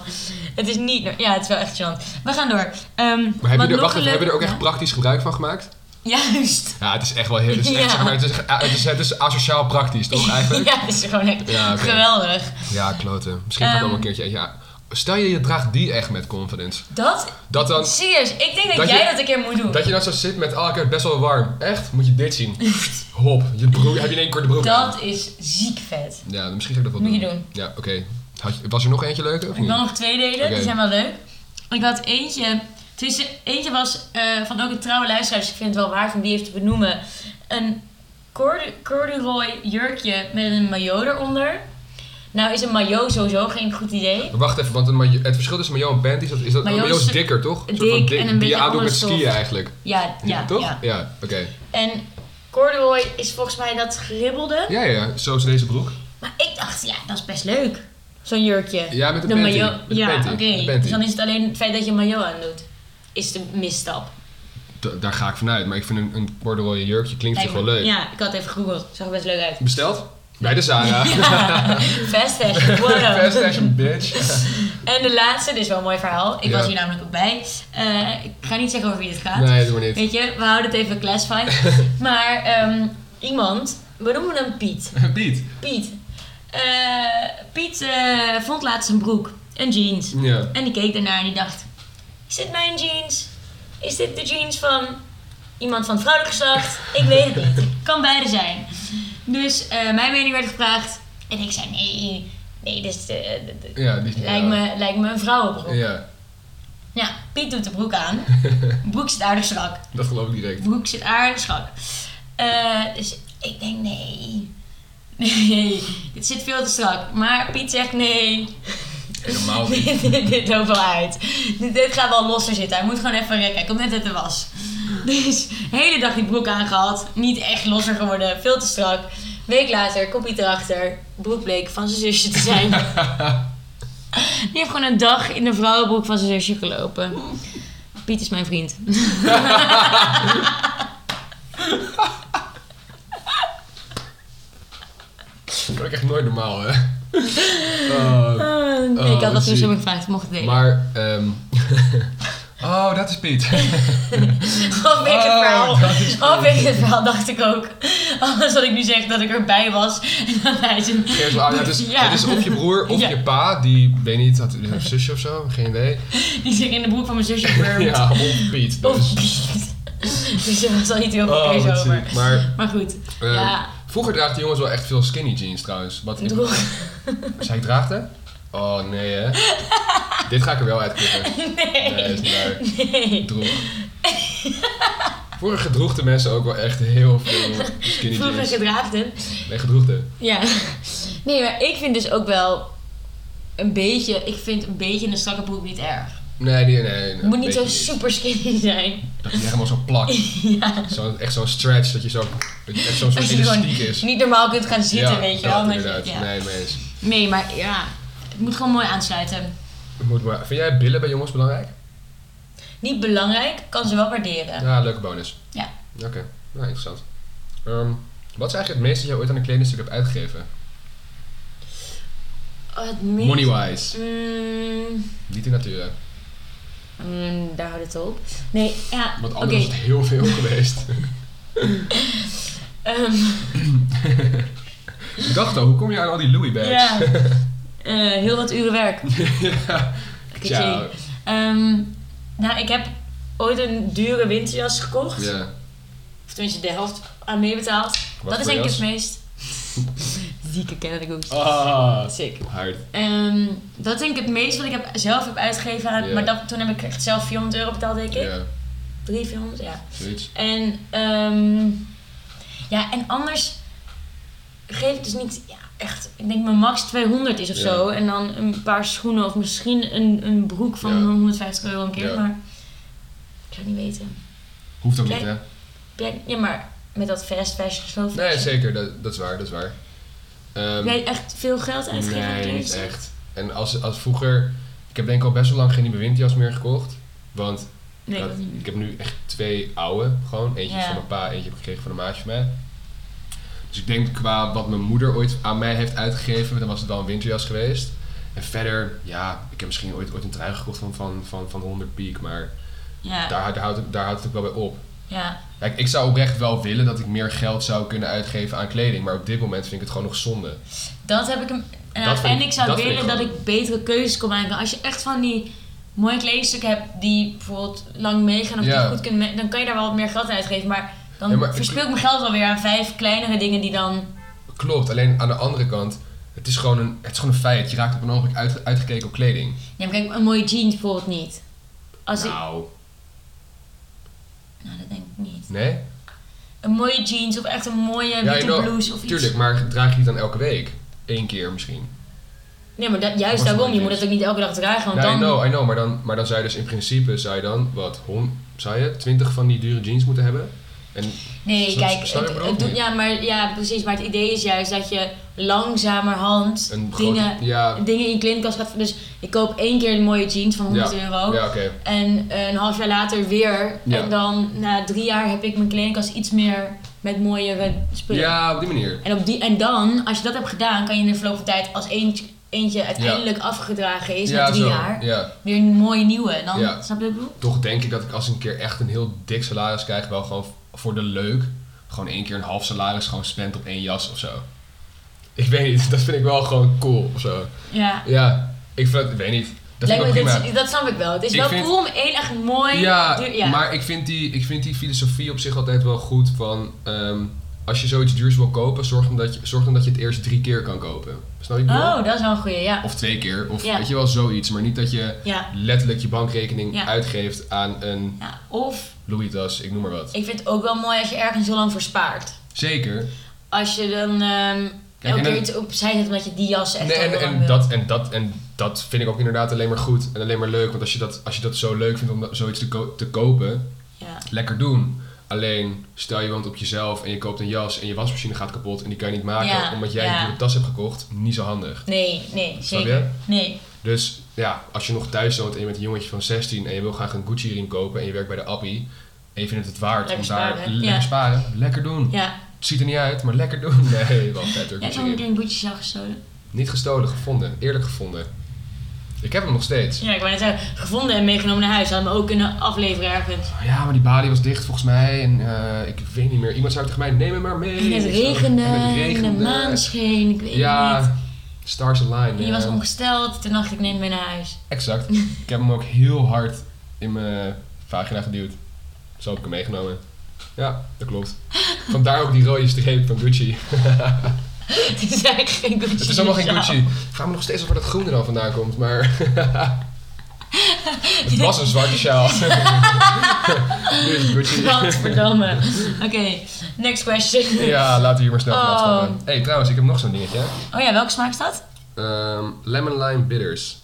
Het is niet normaal. Ja, het is wel echt chant. We gaan door. Ehm, Maar heb wat je, er, nog wacht even, leuk- heb je er ook echt Ja. praktisch gebruik van gemaakt? Juist. Ja, het is echt wel heel... Het is, echt, Ja. zeg maar, het is, het is, het is asociaal praktisch, toch eigenlijk? Ja, het is gewoon echt Ja, oké. geweldig. Ja, kloten. Misschien gaat Ehm. het nog een keertje. Ja. Stel je, je draagt die echt met confidence. Dat? Dat dan. Serieus, ik denk dat, Dat jij je- dat een keer moet doen. Dat je dan zo zit met, oh, ik heb het best wel warm. Echt? Moet je dit zien. Hop, je broek, heb je in één korte broek aan. Dat is ziek vet. Ja, misschien ga ik dat wel Moet je doen. doen. Ja, oké. Had je- Was er nog eentje leuker of Ik wil niet? nog twee delen, Oké. die zijn wel leuk. Ik had eentje, tussen, eentje was eh, van ook een trouwe luisteraar, dus ik vind het wel waard om die even te benoemen. Een cordu- corduroy jurkje met een maillot eronder. Nou is een maillot sowieso geen goed idee. Maar Wacht even, want een majo- het verschil tussen maillot en panty is dat, is dat een Maillot maillot is is dikker, toch? Een soort dik van en een die beetje je aandoet met anders skiën stof. eigenlijk. Ja, ja, toch? ja. Ja, oké. En corduroy is volgens mij dat geribbelde. Ja, ja, zo is deze broek. Maar ik dacht, ja, dat is best leuk. Zo'n jurkje. Ja, met een De panty. maillot. Met een Ja, panty. oké. Met een panty. Dus dan is het alleen het feit dat je een maillot aandoet. Is de misstap. D- daar ga ik vanuit, maar ik vind een, een corduroy jurkje klinkt toch wel Lijkt me- leuk. Ja, ik had even gegoogeld. Zag er best leuk uit. Besteld? Bij de Zara. Ja, fast fashion, what up? Fast fashion, bitch. En de laatste, dit is wel een mooi verhaal. Ik Ja. was hier namelijk ook bij. Eh, ik ga niet zeggen over wie het gaat. Nee, doe maar niet. Weet je, we houden het even classified. maar ehm, iemand, we noemen hem Piet. Piet. Piet. Eh, Piet eh, vond laatst een broek, een jeans. Ja. En die keek ernaar en die dacht: Is dit mijn jeans? Is dit de jeans van iemand van het vrouwelijk geslacht? Ik weet het niet. Kan beide zijn. Dus eh, mijn mening werd gevraagd. En ik zei: Nee, nee, dit is, eh, dit- dit- Ja, die lijkt, me, lijkt me een vrouwenbroek. Ja. Ja, Piet doet de broek aan. Broek zit aardig strak. dat geloof ik direct. Broek zit aardig strak. Eh, dus ik denk: Nee. Nee, dit zit veel te strak. Maar Piet zegt nee, Helemaal niet. dit, dit, dit loopt wel uit. Dit, dit gaat wel losser zitten. Hij moet gewoon even rekken. Hij komt net uit de was. Dus de hele dag die broek aangehad. Niet echt losser geworden. Veel te strak. Week later, kopje erachter. Broek bleek van zijn zusje te zijn. Die heeft gewoon een dag in de vrouwenbroek van zijn zusje gelopen. Piet is mijn vriend. Dat kan ik echt nooit normaal, hè? Oh. Ah, nee, Oh, ik had dat toen ziek. zo me gevraagd. Mocht het delen. Maar, ehm oh, dat is Piet. Of ik het Oh, verhaal. dat is Of ik het verhaal, dacht ik ook. Anders had ik nu zeg dat ik erbij was. En dat hij zijn... Geef ze aan. oh Ja, het, ah, is, Ja. het is of je broer of Ja. je pa, die, weet niet, had die heeft een zusje of zo, geen idee. Die zich in de broek van mijn zusje wurmt. Ja, of Piet. Dus. Of Piet. Dus er was al niet heel veel Oh, keus wat over. ziek. Maar Maar goed, ehm, ja. vroeger draagt die jongens wel echt veel skinny jeans trouwens. Wat ik, Droeg. zij draagt hè? Oh nee hè. Dit ga ik er wel uitknippen. Nee. Nee, is niet waar. Nee. Droeg. Vroeger gedroegden mensen ook wel echt heel veel skinny Vroeger jeans. gedraafden. Nee, gedroegden. Ja. Nee, maar ik vind dus ook wel een beetje, ik vind een beetje een strakke broek niet erg. Nee, nee, nee. nee Het moet niet zo weet je super skinny zijn. Dat je die helemaal zo plakt. Ja. Zo, echt zo'n stretch, dat je zo, dat je echt zo'n soort Als je gewoon elastiek is. niet normaal kunt gaan zitten, Ja, weet je dat wel. Dat je- inderdaad. ja. Nee, mee eens. Nee, maar ja. Het moet gewoon mooi aansluiten. Het Moet maar. Vind jij billen bij jongens belangrijk? Niet belangrijk, kan ze wel waarderen. Ja, leuke bonus. Eh. Ja. Oké, nou interessant. Ehm, wat is eigenlijk het meeste dat jij ooit aan een kledingstuk hebt uitgegeven? Oh, het meest- Money-wise. Mm, Niet in nature. mm, daar houdt het op. Nee, ja, Want oké. anders is het heel veel geweest. Ehm, Ik dacht al, hoe kom je aan al die Louis bags? ja. Eh, heel wat uren werk. Ja. Ciao. Ehm, nou, ik heb ooit een dure winterjas gekocht. Ja. Of tenminste de helft aan meebetaald. Wat Dat is voor denk ik jas? het meest... Zieke kennelijk ook. Ah. Sick. Hard. Ehm, dat is denk ik het meest wat ik heb, zelf heb uitgegeven. aan- Ja. Maar dat, toen heb ik echt zelf 400 euro betaald, denk ik. Ja, 300, ja. zoiets. En, ehm, ja, en anders geef ik dus niet ja, echt. Ik denk mijn max 200 is of Ja. zo. En dan een paar schoenen of misschien een, een broek van Ja. 150 euro een keer. Ja. Maar ik zou het niet weten. Hoeft ook niet, Kijk. hè? Heb jij- Ja, maar met dat fast fashion geloof ik. Nee, zeker. Dat, dat is waar, dat is waar. Ehm, Heb jij echt veel geld uitgegeven? aan Nee, niet kledingstuk? echt. En als, als vroeger... Ik heb denk ik al best wel lang geen nieuwe winterjas meer gekocht. Want Nee, Dat- dat niet. ik heb nu echt twee oude, gewoon. Eentje is Ja. van mijn pa, eentje heb ik gekregen van een maatje van mij. Dus ik denk qua wat mijn moeder ooit aan mij heeft uitgegeven, dan was het wel een winterjas geweest. En verder, ja, ik heb misschien ooit, ooit een trui gekocht van, van, van, van 100 piek, maar Ja, daar, daar, houdt het, daar houdt het ook wel bij op. ja. Kijk, ik zou oprecht wel willen dat ik meer geld zou kunnen uitgeven aan kleding, maar op dit moment vind ik het gewoon nog zonde. Dat heb ik hem. en- Dat vind en ik- ik zou dat vind willen ik dat gewoon. ik betere keuzes kon maken. Als je echt van die mooie kledingstukken hebt die bijvoorbeeld lang meegaan of Ja. die goed kunnen, me- dan kan je daar wel wat meer geld aan uitgeven. Maar dan Ja, maar ik- verspil ik mijn geld alweer aan vijf kleinere dingen die dan. Klopt, alleen aan de andere kant, het is gewoon een, het is gewoon een feit. Je raakt op een ogenblik uit, uitgekeken op kleding. Ja, maar kijk, een mooie jeans bijvoorbeeld niet. Als ik, nou, nou, dat denk ik niet. nee? Een mooie jeans of echt een mooie Ja, witte nou, blouse of iets. Tuurlijk, maar draag je die dan elke week? Eén keer misschien. Nee, maar dat, juist Of een daarom. Je mooie moet dat ook niet elke dag dragen. Want Nou, I dan. know, I know, maar dan, maar dan zou je dus in principe, zou je dan, wat, hon, zou je twintig van die dure jeans moeten hebben? En, Nee, Snap- kijk, snap je het- wat ik het doet- bedoel? ja, maar, ja, precies. Maar het idee is juist dat je langzamerhand Een grote- dingen, ja. dingen in je kledingkast gaat. Dus ik koop één keer een mooie jeans van 100 euro. ja, oké. En eh, een half jaar later weer. Ja. En dan na drie jaar heb ik mijn kledingkast iets meer met mooie spullen. Ja, op die manier. En, op die, en dan, als je dat hebt gedaan, kan je in de verloop van tijd als eentje, eentje uiteindelijk afgedragen is ja, na drie zo. jaar, Ja. weer een mooie nieuwe. En dan, Ja. snap je wat ik bedoel? Toch denk ik dat ik als ik een keer echt een heel dik salaris krijg, wel gewoon voor de leuk, gewoon één keer een half salaris gewoon spend op één jas of zo. Ik weet niet, dat vind ik wel gewoon cool of zo. Ja. Ja, ik vind dat, ik weet niet. Dat Lijkt vind ik wel me- prima. dat, dat snap ik wel. Het is Ik wel vind- cool om één echt mooi... Ja, duur- maar ik vind, die, ik vind die filosofie op zich altijd wel goed van... ehm, als je zoiets duurs wil kopen, zorg dan, dat je, zorg dan dat je het eerst drie keer kan kopen. Snap je? wat ik bedoel? Oh, dat is wel een goeie, ja. Of twee keer, of Ja. weet je wel, zoiets. Maar niet dat je Ja. letterlijk je bankrekening Ja. uitgeeft aan een ja. Of, Louis tas, ik noem maar wat. ik vind het ook wel mooi als je ergens heel lang voor spaart. Zeker. Als je dan ehm Kijk, elke en keer dan- iets opzij zet omdat je die jas echt Nee, al en, heel lang en, wil. dat, en, dat, en dat vind ik ook inderdaad alleen maar goed en alleen maar leuk. Want als je dat, als je dat zo leuk vindt om dat- zoiets te, ko- te kopen, Ja. lekker doen. Alleen, stel je woont op jezelf en je koopt een jas en je wasmachine gaat kapot en die kan je niet maken Ja, omdat jij ja. een dure tas hebt gekocht, niet zo handig. Nee, nee, Snap je? zeker. Nee. Dus ja, als je nog thuis woont en je bent een jongetje van 16 en je wil graag een Gucci riem kopen en je werkt bij de Appie en je vindt het het waard Lekker om daar sparen, lekker ja. sparen, lekker doen. Ja. Het ziet er niet uit, maar lekker doen. Nee, wel vet hoor, Jij hebt Gucci zo'n riem. keer een boetje zelf gestolen. Niet gestolen, gevonden, eerlijk gevonden. Ik heb hem nog steeds. Ja, ik wou net zeggen, gevonden en meegenomen naar huis. Hadden we ook kunnen afleveren ergens. Oh Ja, maar die balie was dicht volgens mij. En eh, ik weet niet meer. Iemand zei tegen mij, neem hem maar mee. En het Of zo. regende, En het en de regende. maan scheen, ik weet niet. Ja, stars align. En je ja. was ongesteld, toen dacht ik neem het mee naar huis. Exact. ik heb hem ook heel hard in mijn vagina geduwd. Zo heb ik hem meegenomen. Ja, dat klopt. Vandaar ook die rode streep van Gucci. het is eigenlijk geen Gucci. Het is allemaal geen zaal. Gucci. Ik vraag me nog steeds af waar dat groen er dan vandaan komt, maar... het was een zwarte sjaal. nu is het Gucci. Godverdamme. Oké, next question. Ja, laten we hier maar snel vanaf Oh. stappen. Hé, hey, trouwens, ik heb nog zo'n dingetje. Oh ja, welke smaak is dat? Ehm, lemon lime bitters.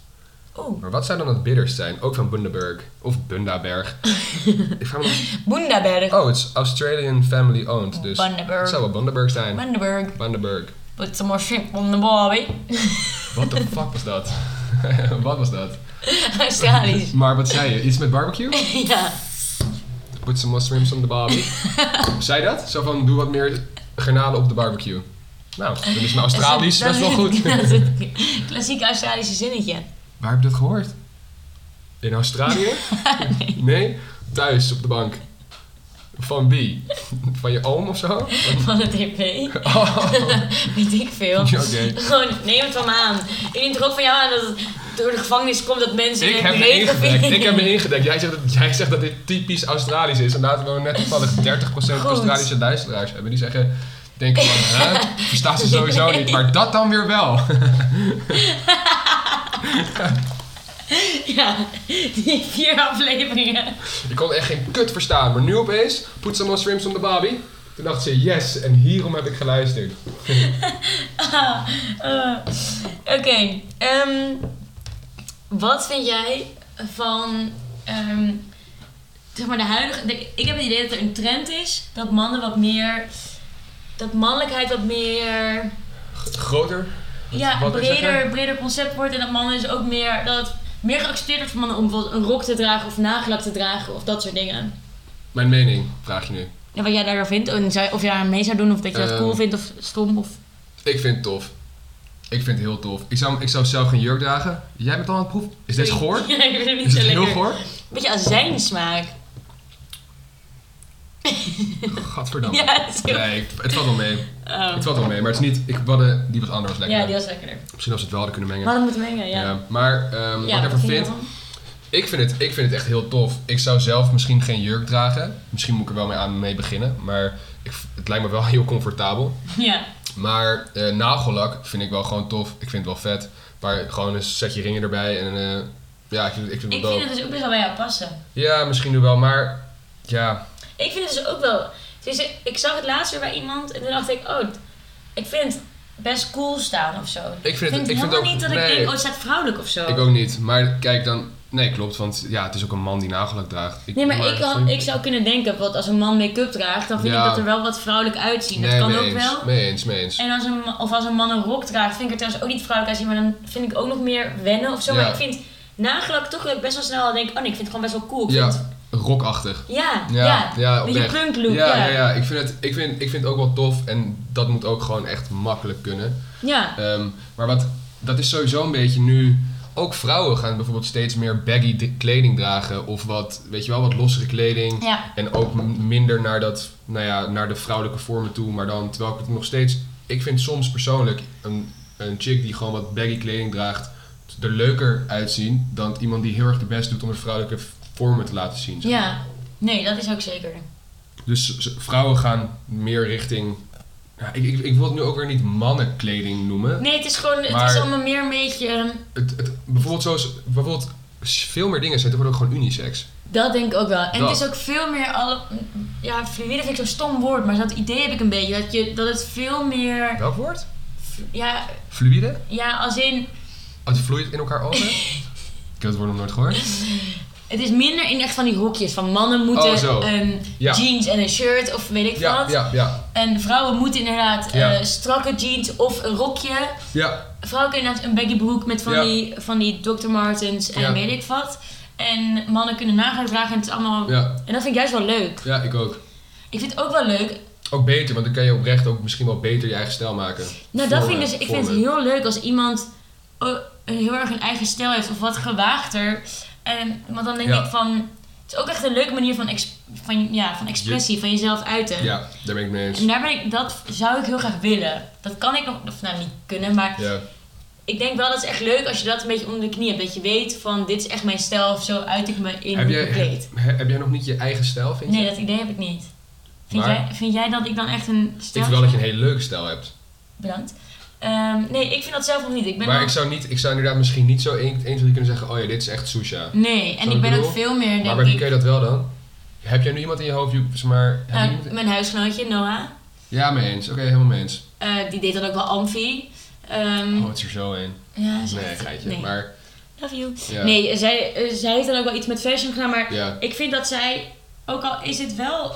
Oeh, Maar wat zou dan dat bitters zijn? Ook van Bundaberg. Of Bundaberg. ik vraag me nog- Bundaberg. Oh, het is Australian family owned. Dus Bundaberg. het zou wel Bundaberg zijn. Bundaberg. Bundaberg. Put some more shrimp on the barbie. What the fuck was dat? wat was dat? Australisch. Maar wat zei je? Iets met barbecue? ja. Put some mushrooms on the barbie. zei dat? Zo van, doe wat meer garnalen op de barbecue. Nou, dat is een Australisch Dat best is- wel goed. dat is het Klassiek Australische zinnetje. Waar heb je dat gehoord? In Australië? nee. Thuis op de bank. Van wie? Van je oom of zo? Van het EP. Oh. Weet ik veel. Ja, oké. Gewoon, neem het van me aan. Ik neem het er ook van jou aan dat het door de gevangenis komt dat mensen... Ik hun heb me regen ingedekt. vinden. Ik heb me ingedekt. Jij zegt, dat, jij zegt dat dit typisch Australisch is. En laten we nou net toevallig 30% Australische luisteraars hebben. Die zeggen, denken van, hè? Verstaan ze sowieso niet. Maar dat dan weer wel. Ja, die vier afleveringen. Ik kon echt geen kut verstaan. Maar nu opeens, put some mushrooms on the barbie. Toen dacht ze, yes. En hierom heb ik geluisterd. Ah, eh, Oké. ehm, wat vind jij van ehm, zeg maar de huidige. de- ik heb het idee dat er een trend is dat mannen wat meer. Dat mannelijkheid wat meer. Groter. Ja, een wat wil je breder, zeggen? breder concept wordt. En dat mannen dus ook meer. Dat het meer geaccepteerd wordt voor mannen om bijvoorbeeld een rok te dragen of nagelak te dragen of dat soort dingen. Mijn mening, vraag je nu. En wat jij daarvan vindt, en zou- of jij aan mee zou doen, of dat je dat Ehm. cool vindt of stom. Of... Ik vind het tof. Ik vind het heel tof. Ik zou, ik zou zelf geen jurk dragen. Jij bent al aan het proef. Is deze goor? Ja, ik vind het niet Is zo het lekker. heel goor? Beetje azijnsmaak. Gadverdamme. Ja, dat is heel... Nee, ik- het valt wel mee. Oh. Het valt wel mee, maar het is niet... Ik, we hadden- die was anders lekker. Ja, die was lekkerder. We Misschien als we het wel hadden kunnen mengen. hadden moeten mengen, ja. ja. Maar ehm, wat ik ervan wat vind... vind je Ik vind, het, ik vind het echt heel tof. Ik zou zelf misschien geen jurk dragen. Misschien moet ik er wel mee, aan, mee beginnen. Maar ik, het lijkt me wel heel comfortabel. ervan? Ja. Maar eh, nagellak vind ik wel gewoon tof. Ik vind het wel vet. Maar gewoon een setje ringen erbij. En eh, ja, ik vind, ik vind het Ik wel vind dope. het dus ook best wel bij jou passen. Ja, misschien nu wel, maar ja. Ik vind het dus ook wel... Dus ik- ik zag het laatst weer bij iemand en toen dacht ik, oh, ik vind het best cool staan of zo. Ik Ik vind, het, ik vind helemaal ook, niet dat nee, ik denk, oh, het staat vrouwelijk of zo. Ik ook niet, maar kijk dan. Nee, klopt, want ja, het is ook een man die nagellak draagt. Nee, maar ik, had, vind- ik zou kunnen denken, want als een man make-up draagt, dan vind Ja. ik dat er wel wat vrouwelijk uitzien. Nee, dat kan mee ook eens, wel. Mee eens, mee eens. En als een, ma- of als een man een rok draagt, vind ik het trouwens ook niet vrouwelijk uitzien, maar dan vind ik ook nog meer wennen of zo. Ja. Maar ik vind nagelak toch best wel snel al denk ik, oh nee, ik vind het gewoon best wel cool. Ik Ja, vind- een rockachtig. Ja, ja. Ja, ja, Beetje oprecht. punklook, ja, ja. ja. ja. Ik, vind het, ik, vind, ik vind het ook wel tof en dat moet ook gewoon echt makkelijk kunnen. ja. Ehm, maar wat, dat is sowieso een beetje nu. Ook vrouwen gaan bijvoorbeeld steeds meer baggy d- kleding dragen. Of wat, weet je wel, wat lossere kleding. Ja. En ook m- minder naar, dat, nou ja, naar de vrouwelijke vormen toe. Maar dan, terwijl ik het nog steeds... Ik vind soms persoonlijk een, een chick die gewoon wat baggy kleding draagt... er leuker uitzien dan iemand die heel erg de best doet om de vrouwelijke v- vormen te laten zien. zeg maar. ja. Nee, dat is ook zeker. Dus z- vrouwen gaan meer richting... Ja, ik, ik, ik wil het nu ook weer niet mannenkleding noemen. Nee, het is gewoon, het Maar- is allemaal meer een beetje, ehm, Het, het, bijvoorbeeld, zoals, bijvoorbeeld s- veel meer dingen zijn tegenwoordig gewoon unisex. dat denk ik ook wel. En Dat. het is ook veel meer, alle, ja, fluïde vind ik zo'n stom woord, maar dat idee heb ik een beetje, dat, je, dat het veel meer, Welk woord? ja, Fluïde? ja, als in, Als het vloeit in elkaar over? ik heb het woord nog nooit gehoord. het is minder in echt van die hokjes, van mannen moeten Oh, zo. een Ja. jeans en een shirt of weet ik Ja, wat. ja, ja. En vrouwen moeten inderdaad Ja. eh, strakke jeans of een rokje. Ja, Vrouwen kunnen inderdaad een baggy broek met van, Ja. die, van die Dr. Martens en Ja. weet ik wat. En mannen kunnen nagaan dragen en het is allemaal... ja. En dat vind ik juist wel leuk. Ja, ik ook. Ik vind het ook wel leuk. Ook beter, want dan kan je oprecht ook misschien wel beter je eigen stijl maken. Nou, dat Vormen, vind ik dus... Ik vind het vormen. heel leuk als iemand oh, een heel erg een eigen stijl heeft of wat gewaagder. En, want dan denk Ja. ik van... Het is ook echt een leuke manier van, ex- van, ja, van expressie, van jezelf uiten. Ja, daar ben ik mee En eens. daar ben ik, dat zou ik heel graag willen. Dat kan ik nog, of nou niet kunnen, maar Ja, ik denk wel dat het echt leuk als je dat een beetje onder de knie hebt. Dat je weet van dit is echt mijn stijl of zo uit ik me in heb, jij, gekleed. he- heb jij nog niet je eigen stijl, vind je? Nee, dat idee heb ik niet. Vind, Maar- jij, vind jij dat ik dan echt een ik stijl... vind wel dat je een hele leuke stijl hebt. Bedankt. Ehm, nee, ik vind dat zelf nog niet. Ik ben maar wel- ik, zou niet, ik zou inderdaad misschien niet zo 1, 2, 3 kunnen zeggen... Oh ja, dit is echt Susha. Nee, en Zo ik ben bedoel- ook veel meer, Maar denk bij wie ik... kun je dat wel dan? Heb jij nu iemand in je hoofd, die- zeg maar... heb je Nou, iemand- mijn huisgenootje, Noah, Ja, mee eens. Oké, helemaal mee eens. eh, die deed dan ook wel Amfi. Ehm, Oh, het is er zo een. ja, ze Nee, echt- geitje. nee. Maar Love you. Ja. Nee, zij, eh, zij heeft dan ook wel iets met fashion gedaan, maar ja, Ik vind dat zij, ook al is het wel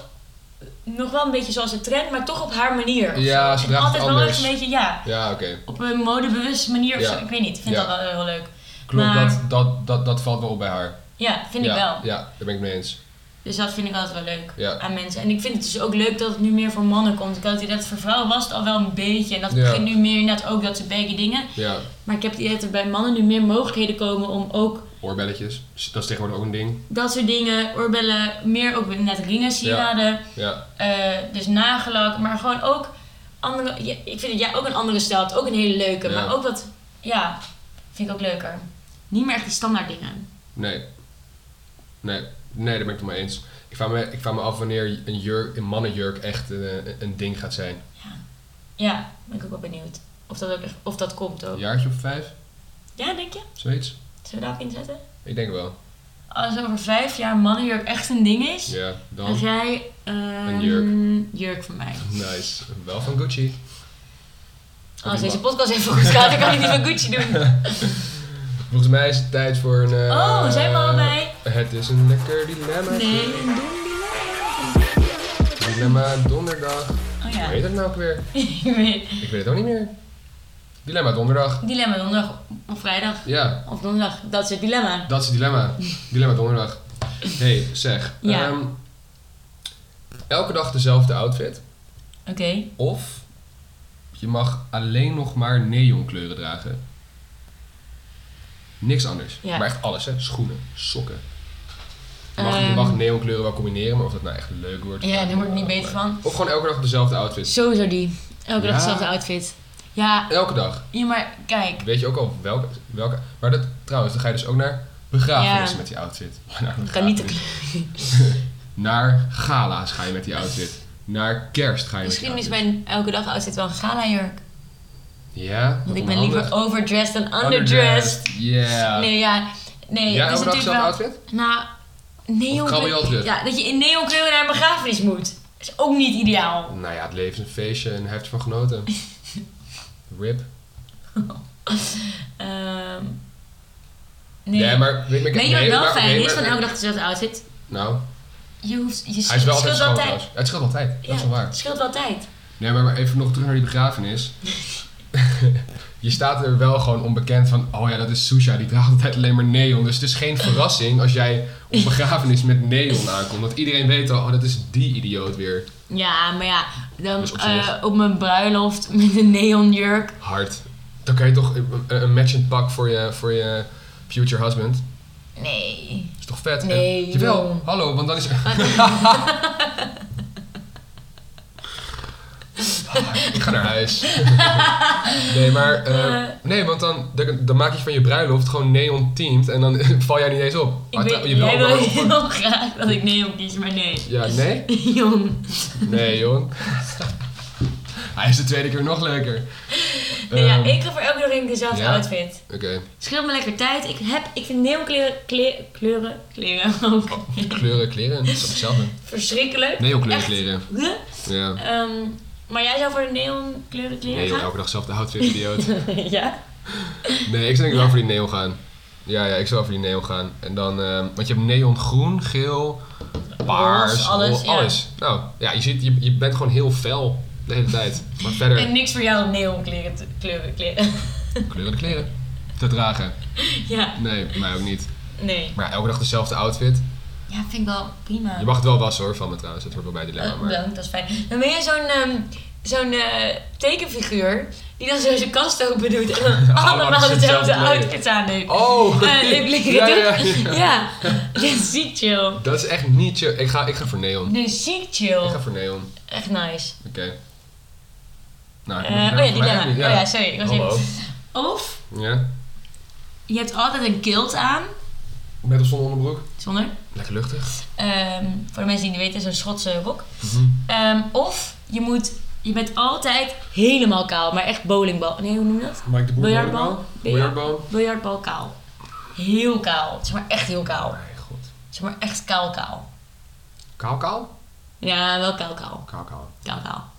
eh, nog wel een beetje zoals de trend, maar toch op haar manier. of Ja, zo. ze En draagt het altijd wel anders. echt een beetje, ja, ja oké. op een modebewuste manier of Ja. zo. Ik weet niet, ik vind Ja. dat wel heel leuk. Klopt, Maar- dat, dat, dat, dat valt wel op bij haar. Ja, vind ja, ik wel. Ja, daar ben ik mee eens. Dus dat vind ik altijd wel leuk Ja. aan mensen. En ik vind het dus ook leuk dat het nu meer voor mannen komt. Ik had het idee dat het voor vrouwen was het al wel een beetje. En dat Ja. begint nu meer inderdaad ook dat ze begge dingen. Ja, Maar ik heb het idee dat er bij mannen nu meer mogelijkheden komen om ook oorbelletjes. Dat is tegenwoordig ook een ding. dat soort dingen, oorbellen, meer ook net ringen, sieraden. Ja, Eh, dus nagelak, maar gewoon ook andere. ja, ik vind dat jij ook een andere stijl hebt, ook een hele leuke, Ja. maar ook wat. Ja, vind ik ook leuker. Niet meer echt die standaard dingen. nee. Nee, nee, daar ben ik het mee eens. Ik vraag me, ik vraag me af wanneer een, jurk, een mannenjurk echt eh, een ding gaat zijn. Ja, ben ik ook wel benieuwd. Of dat, ook echt, of dat komt ook. Een Ja. jaartje of vijf, denk je? zoiets? Zullen we daarop inzetten? Ik denk wel. Als over vijf jaar mannenjurk echt een ding is, Ja, dan dan. jij ehm, Een jurk. jurk van mij. Nice. Wel van Gucci. Als die deze man. podcast even goed gaat, dan kan ik die van Gucci doen. Volgens mij is het tijd voor een... eh, Oh, zijn we al bij? Het is een lekker dilemma. Nee, een doemdeler. Dilemma donderdag. Oh Hoe ja, heet dat nou ook weer? ik weet Ik weet het ook niet meer. Dilemma donderdag. Dilemma donderdag of vrijdag. Ja, Of donderdag, dat is het dilemma. dat is het dilemma. Dilemma donderdag. Hé, hey, zeg. Ja. ehm, elke dag dezelfde outfit. Oké. Of je mag alleen nog maar neonkleuren dragen. Niks anders. Ja. Maar echt alles, hè. Schoenen, sokken. Je mag, je Ehm. mag neonkleuren wel combineren, maar of dat nou echt leuk wordt. Ja, daar wordt niet beter van. Of gewoon elke dag dezelfde outfit. Sowieso die. Elke dag Ja. dezelfde outfit. Ja, Elke dag. ja, maar kijk. Weet je ook al welke, welke... Maar dat, trouwens, dan ga je dus ook naar begrafenissen Ja. met die outfit. Naar Kan niet te begrafenissen. Naar gala's ga je met die outfit. Naar kerst ga je Misschien met is die outfit. mijn elke dag outfit wel een gala jurk. Ja? Want ik ben onhandig. liever overdressed dan underdressed. Yeah. Nee, ja. Nee, Jij het elke is dag natuurlijk dezelfde wel... outfit? Nou, neon... Of krabbel je al terug? Ja, dat je in neon naar een begrafenis moet. Is ook niet ideaal. Nou ja, het leven is een feestje en heeft van genoten. Rip. Ehm nee. Nee, maar... Weet, maar- Weet je wat nee, wel maar- fijn nee, is maar- van elke dag dezelfde outfit? Nou, Je hoeft... Je hij is wel altijd scheelt schoon wel trouwens. tijd. Het scheelt altijd, dat Ja, is wel waar. Het scheelt wel tijd. Nee, maar, maar even nog terug naar die begrafenis. je staat er wel gewoon onbekend van, oh ja, dat is Susha, die draagt altijd alleen maar neon. Dus het is geen verrassing als jij op begrafenis met neon aankomt. Want iedereen weet al, oh, dat is die idioot weer. Ja, maar ja, dan Dus op eh, zich. op mijn bruiloft met een neonjurk. Hard. Dan kan je toch een, een matchend pak voor je, voor je future husband. Nee. Is toch vet? Nee, En- jawel, joh. hallo, want dan is... Ah, Ik ga naar huis. Nee, maar... eh, Eh. nee, want dan, dan, dan maak je van je bruiloft gewoon neon teamed en dan val jij niet eens op. Ik Ah, weet, trouw- jij jawel, wil maar op- heel graag dat ik neon kies, maar nee. Ja, nee? Jong. Nee, joh. Hij is de tweede keer nog leuker. Nee, ja, Ehm, ik ga voor elke keer dezelfde ja? outfit. Oké, Scheelt me lekker tijd. Ik, heb, ik vind neonkleuren, kleur, kleuren, kleren ook kleuren, kleren. Dat is toch hetzelfde. verschrikkelijk. Nee, ook kleuren, Echt. kleren. Huh? Ja. Ehm, maar jij zou voor de neonkleuren kleren Nee, joh, gaan? elke dag zelfde outfit, idioot. ja? Nee, ik zou denk ik wel voor die neon gaan. Ja, ja, ik zou wel voor die neon gaan. En dan, ehm, want je hebt neon groen, geel, paars, Roze, alles, roze, ja. alles. Nou, ja, je, ziet, je, je bent gewoon heel fel de hele tijd. Maar verder, En niks voor jou om neonkleuren te- kleuren, kleren. kleuren de kleren te dragen. ja, Nee, mij ook niet. nee. Maar ja, elke dag dezelfde outfit. Ja, vind ik wel prima. Je mag het wel wassen hoor, van me trouwens. Dat hoort wel bij het dilemma. Eh, Maar... bedankt, dat is fijn. Dan ben je zo'n ehm, zo'n eh, tekenfiguur die dan zo zijn kast open doet en dan Allemaal allemaal dezelfde dezelfde kleren. outfits aanneemt. Oh! Eh, leuk, leuk, ja, ja, toch? ja. ja. Ja, ziek chill. Dat is echt niet chill. Ik ga, ik ga voor neon. Nee, ziek Ik chill. ga voor neon. Echt nice. Oké. Nou, Eh, moet je oh ja, voor mij dilemma. ook niet- Oh ja, sorry. Ik was Hallo. even- Of Ja? je hebt altijd een kilt aan, Met of zonder onderbroek? zonder, Lekker luchtig. ehm, voor de mensen die het niet weten, zo'n Schotse rok. Mhm. Ehm, of je moet, je bent altijd helemaal kaal, maar echt bowlingbal. Nee, hoe noem je dat? Mike de Boer. Biljartbal? Biljartbal. Biljartbal kaal. Heel kaal. Zeg maar echt heel kaal. Mijn god. Zeg maar echt kaal kaal. Kaal, kaal? Ja, wel kaal kaal. Kaal, kaal. Kaal kaal.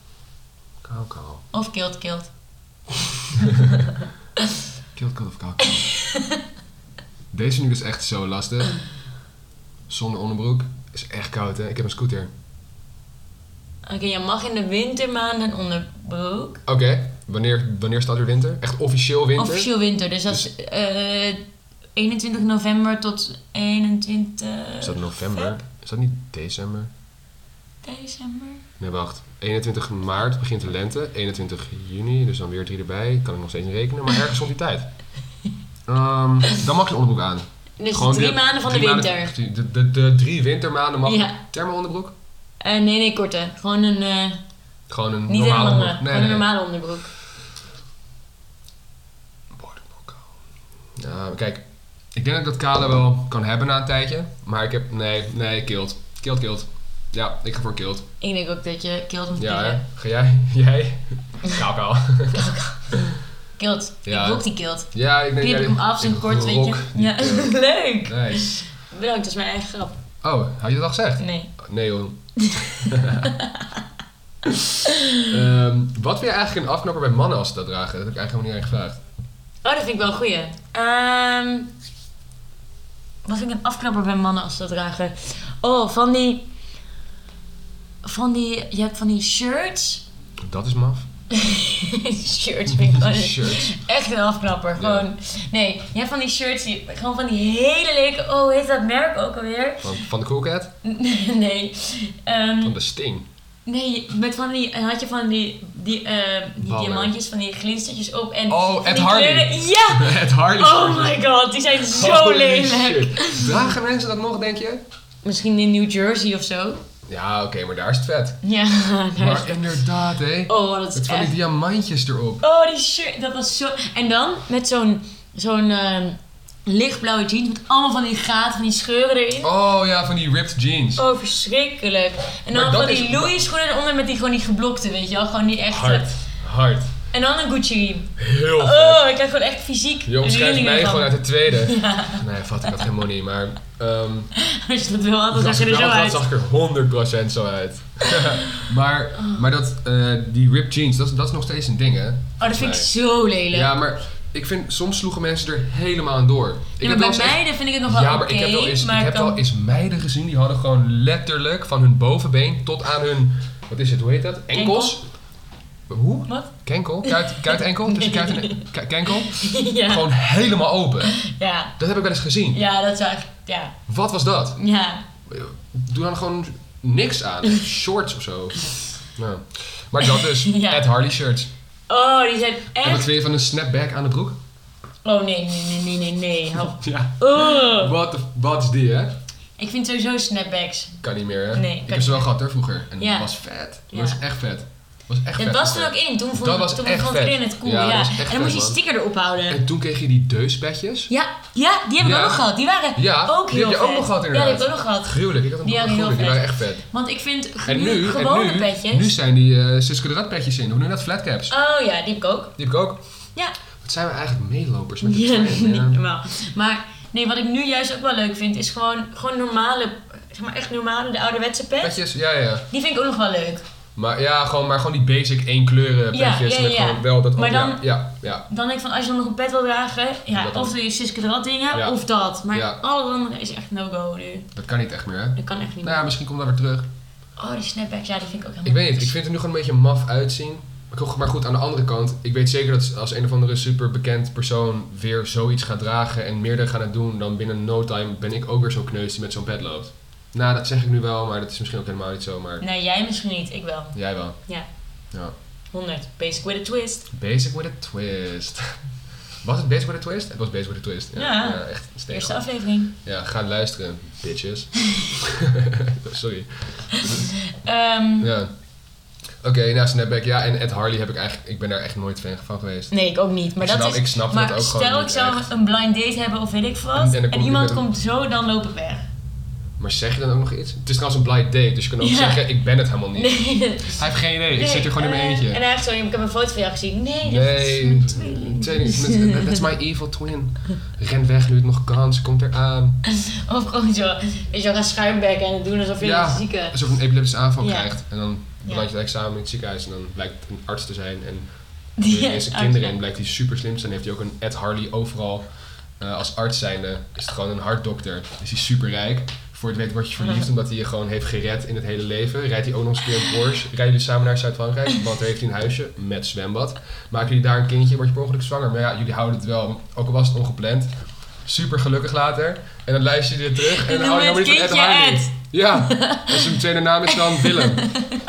Kaal, kaal. Of kilt kilt. Kilt, kilt of kaal, kaal. Deze nu is echt zo lastig. Zonder onderbroek. Is echt koud hè. Ik heb een scooter. Oké, je mag in de wintermaanden een onderbroek. Oké. Wanneer, wanneer staat er winter? Echt officieel winter? Officieel winter. Dus dat is eh, 21 november tot 21 Is dat november? Is dat niet december? december. Nee, wacht. 21 maart begint de lente. 21 juni, dus dan weer drie erbij. Kan ik nog steeds niet rekenen, maar ergens rond die tijd. Ehm, dan mag je onderbroek aan. Dus Gewoon de drie de- maanden van de drie winter. maanden- de, de, de drie wintermaanden mag Ja. je thermo-onderbroek. Eh, nee, nee, korte. Gewoon een, eh, Gewoon een niet een normale lange, onderbroek. gewoon een normale onderbroek. Boordonbroek. Ja, kijk, ik denk dat ik dat kale wel kan hebben na een tijdje. Maar ik heb, nee, nee, kilt. Kilt, kilt. Ja, ik ga voor kilt. Ik denk ook dat je kilt moet Ja, kiezen. hè? Ga jij? Jij? Kaal, kaal. Kilt. Ja. Ik rook die kilt. Ja, ik denk... Knip ik jij- hem af, zijn ik kort, weet rok je. die Ja, kilt. leuk. Nice. Bedankt, dat is mijn eigen grap. Oh, had je dat al gezegd? Nee. Nee, joh. Ehm, wat vind je eigenlijk een afknapper bij mannen als ze dat dragen? Dat heb ik eigenlijk helemaal niet aan je gevraagd. Oh, dat vind ik wel een goeie. Ehm, wat vind ik een afknapper bij mannen als ze dat dragen? Oh, van die... Van die... Je hebt van die shirts. Dat is maf. shirts vind ik wel Die shirts. echt een afknapper. Gewoon... Nee, je hebt van die shirts die... Gewoon van die hele lelijke... Oh, hoe heet dat merk ook alweer? Van, van de Cool Cat? nee. Ehm, Van de Sting. Nee, met van die, had je van die, die, eh, die Ballen. diamantjes, van die glinstertjes op en... Oh, van Ed die Hardy. kleuren- Ja! Het harde Oh my god, die zijn zo lelijk. Dragen mensen dat nog, denk je? Misschien in New Jersey of zo. Ja, oké, maar daar is het vet. Ja, daar is Maar inderdaad, hé. Oh, dat Het is van echt... die diamantjes erop. Oh, die shirt, dat was zo... En dan met zo'n zo'n ehm, lichtblauwe jeans met allemaal van die gaten, van die scheuren erin. Oh ja, van die ripped jeans. Oh, verschrikkelijk. En Maar dan dat van die is- Louis schoenen eronder met die gewoon die geblokte, weet je wel. Gewoon die echt... Hard. Hard. En dan een Gucci riem. Heel vet. Oh, ik krijg gewoon echt fysiek Jongens, schrijf rillingen mij van. gewoon uit de tweede. Nee, vat ik had geen money, maar... ehm Als je dat wil, dan zag als je ik nou er zo wel had, uit. zag ik er 100% zo uit. maar maar dat, eh, die ripped jeans, dat, is- dat is nog steeds een ding, hè? Oh, dat vind ik Nee. zo lelijk. Ja, maar ik vind, soms sloegen mensen er helemaal aan door. Ik heb Ja, maar wel bij eens echt- meiden vind ik het nog wel ja, oké. maar ik heb, wel eens, ik heb dan- wel eens meiden gezien die hadden gewoon letterlijk van hun bovenbeen tot aan hun, wat is het, hoe heet dat? Enkels. Hoe? Wat? Kenkel? Kuit, kuitenenkel? Tussen kuit en ku- kenkel? Ja. Gewoon helemaal open. Ja. Dat heb ik wel eens gezien. ja, dat zou echt... Ja. Wat was dat? Ja. Doe dan gewoon niks aan. Shorts of zo. Nou. Maar dat dus. Ja. Ed Hardy shirts. Oh, die zijn En wat echt... vind je van een snapback aan de broek? Oh, nee, nee, nee, nee, nee, nee. Hou- Ja. Oh. Wat de- wat is die, hè? Ik vind sowieso snapbacks. Kan niet meer, hè? Nee, ik kan heb niet ze wel gehad, hè, vroeger. En Ja. dat was vet. Ja. Dat was echt vet. Dat was echt Dat vet. was er vroeger. ook in. Toen vond Dat was toen echt vond vet. iedereen het cool. Ja, Ja, dat was echt En dan vet, moest je man. die sticker erop houden. En toen kreeg je die deuspetjes. Ja, ja die hebben we Ja. ook nog gehad. Die waren Ja, ook die heel heb je vet. ook nog gehad, Ja, die heb inderdaad. ik ook nog gehad. Gruwelijk. Ik had een Die broek waren van heel gruwelijk. Die waren echt vet. vet. Want ik vind En nu, nu, en gewone nu, petjes... nu zijn die eh Cisco de Rat petjes in. Hoe noem je dat? Flatcaps. Oh ja, die heb ik ook. Die heb ik ook. Ja. Wat zijn we eigenlijk meelopers met de Ja, trend, niet hè? normaal. Maar nee, wat ik nu juist ook wel leuk vind, is gewoon, gewoon normale, zeg maar echt normale, de ouderwetse pet. Petjes, ja, ja. Die vind ik ook nog wel leuk. Maar ja, gewoon, maar gewoon die basic één kleuren Ja, petjes. ja, met ja. gewoon wel dat... oh, Maar ja, dan- Ja, ja. Dan denk ik van, als je dan nog een pet wil dragen, ja, Dat dan. of doe je Siske de Rat dingen, Ja. of dat. Maar Ja. alle andere is echt no-go nu. Dat kan niet echt meer, hè? Dat kan echt niet Nou ja, meer. misschien komt dat weer terug. Oh, die snapbacks, ja, die vind ik ook helemaal Ik weet niet, niks. ik vind er nu gewoon een beetje maf uitzien. Maar goed- Maar goed, aan de andere kant, ik weet zeker dat als een of andere superbekend persoon weer zoiets gaat dragen en meerdere gaan het doen, dan binnen no time ben ik ook weer zo'n kneus die met zo'n pet loopt. Nou, dat zeg ik nu wel, maar dat is misschien ook helemaal niet zo, maar Nee, jij misschien niet, ik wel. jij wel. Ja. Ja. 100. Basic with a twist. Basic with a twist. Was het Basic with a twist? Het was Basic with a twist. Ja. echt steeds. Eerste aflevering. Ja, ga luisteren, bitches. Sorry. Ehm, Ja. Oké, nou Snapback, ja, en Ed Harley heb ik eigenlijk, ik ben daar echt nooit fan van geweest. Nee, ik ook niet. Maar Ik dat snap- is, ik snap maar dat ook stel gewoon niet ik zou echt. een blind date hebben of weet ik En- en wat. dan En, komt iemand iemand- komt zo, dan loop ik weg. Maar zeg je dan ook nog iets? Het is trouwens een blind date, dus je kan ook Ja. zeggen, ik ben het helemaal niet. Nee. Hij heeft geen idee, ik zit hier gewoon in mijn eh, En eentje. hij heeft zo, ik heb een foto van jou gezien. Nee, dat is Nee, mijn ik tweeling. weet niet, met- that's my evil twin. Ren weg nu het nog kan, ze komt eraan. Of gewoon zo, weet je wel, gaan schuimbekken en doen alsof je Ja. een zieke... Alsof je een epileptische aanval Ja. krijgt. En dan Ja. beland je het examen in het ziekenhuis en dan blijkt het een arts te zijn. En Die doe je ineens een kinderen in, blijkt hij super slim te zijn. Heeft hij ook een Ed Harley overal. Eh, als arts zijnde is het gewoon een hartdokter. Is hij super rijk. Voor het weet word je Mhm. verliefd omdat hij je gewoon heeft gered in het hele leven. Rijdt hij ook nog eens een keer een Porsche. Rijden jullie samen naar Zuid-Frankrijk. Want daar heeft hij een huisje met zwembad. Maken jullie daar een kindje. Word je per ongeluk zwanger. Maar ja, jullie houden het wel. Ook al was het ongepland. Super gelukkig later. En dan luister je dit terug. En Ik dan noem je het niet van kindje Ed. Ja. En zijn tweede naam is dan Willem.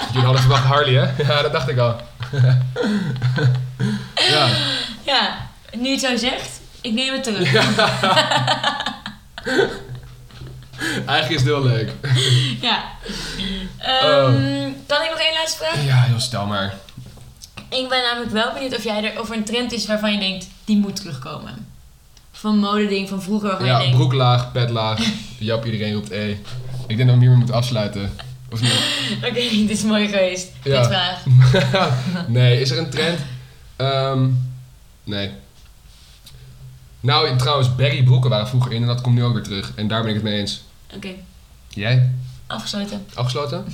Jullie hadden verwacht Harley hè? Ja, dat dacht ik al. Ja. Ja, nu je het zo zegt, ik neem het terug. Ja. Eigenlijk is het heel leuk. Ja. Oh. Ehm, Kan ik nog één laatste vraag? Ja, heel stel maar. Ik ben namelijk wel benieuwd of, jij er, of er een trend is waarvan je denkt, die moet terugkomen. Van modeding van vroeger waarvan je Ja, denkt... broeklaag, petlaag. Jap, iedereen roept E. Ik denk dat we hiermee moeten afsluiten. Of niet? Oké, dit is mooi geweest. Ja. Dit vraag. nee, is er een trend? Ehm, nee. Nou, trouwens, Barry broeken waren vroeger in en dat komt nu ook weer terug. En daar ben ik het mee eens. Oké, Jij? afgesloten. Afgesloten?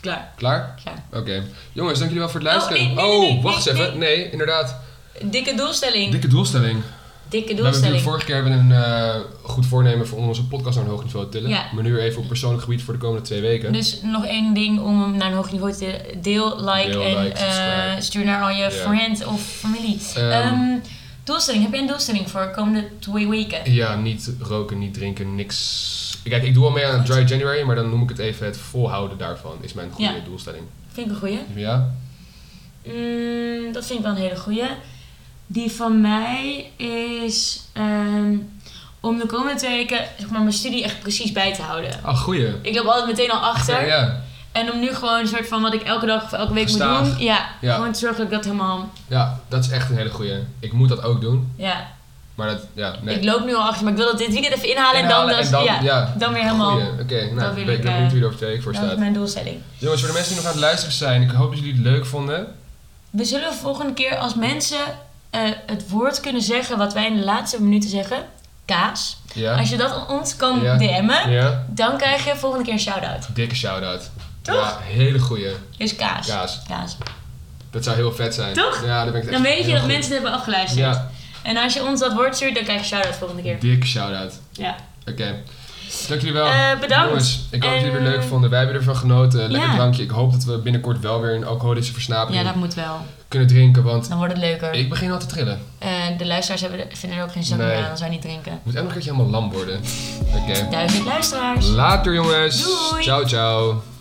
Klaar. Klaar? Klaar. Oké. Jongens, dank jullie wel voor het luisteren. Oh, nee, nee, nee, nee, wacht nee, eens even. Nee, inderdaad. Dikke doelstelling. Dikke doelstelling. We Dikke hebben doelstelling. natuurlijk vorige keer hebben we een eh, goed voornemen voor om onze podcast naar een hoog niveau te tillen. Ja. Maar nu weer even op persoonlijk gebied voor de komende twee weken. Dus nog één ding om hem naar een hoog niveau te deel, like Deel, en like, eh, subscribe. stuur naar al je Ja. friends of familie. Ehm, Ehm, doelstelling, heb jij een doelstelling voor de komende twee weken? Ja, niet roken, niet drinken, niks. Kijk, ik doe al mee aan het Dry January, maar dan noem ik het even het volhouden daarvan. Is mijn goede Ja. doelstelling. Vind ik een goeie. Ja? Mm, dat vind ik wel een hele goeie. Die van mij is ehm, om de komende twee weken zeg maar, mijn studie echt precies bij te houden. Ah, goeie. Ik loop altijd meteen al achter. Ja, En om nu gewoon een soort van wat ik elke dag of elke week moet Gestaag. doen. Ja, Ja. gewoon te zorgen dat ik dat helemaal... ja, dat is echt een hele goeie. Ik moet dat ook doen, Ja, maar dat, ja, nee. ik loop nu al achter. Maar ik wil dat dit weekend even inhalen, Inhalen en dan, dus- ja, dan weer helemaal... Goeie. Oké, nou, wil ben ik ik, ben eh, benieuwd wie er over twee weken voor Dat is staat. mijn doelstelling. Jongens, voor de mensen die nog aan het luisteren zijn, ik hoop dat jullie het leuk vonden. We zullen volgende keer als mensen eh, het woord kunnen zeggen wat wij in de laatste minuten zeggen. Kaas. Ja? Als je dat aan ons kan Ja. DM'en, Ja? dan krijg je volgende keer een shout-out. Dikke shout-out. Toch? Ja, hele goeie. Dus kaas. Kaas. Kaas. Dat zou heel vet zijn. Toch? Ja, daar ben ik het Dan echt weet je heel dat goed. mensen het hebben afgeluisterd. Ja, En als je ons dat woord stuurt, dan krijg je shout-out volgende keer. dikke shout-out. Ja. Oké. Dank jullie wel. Eh, bedankt. Jongens, ik hoop dat jullie het En- weer leuk vonden. Wij hebben ervan genoten. Lekker Ja. drankje. Ik hoop dat we binnenkort wel weer een alcoholische Ja, versnapering dat moet wel. kunnen drinken. Want Dan wordt het leuker. ik begin al te trillen. Eh, de luisteraars hebben, er- vinden er ook geen zak Nee. meer aan als wij niet drinken. Ik moet echt nog een keertje helemaal lam worden. Oké. Duizend luisteraars. Later jongens. Doei. Ciao, ciao.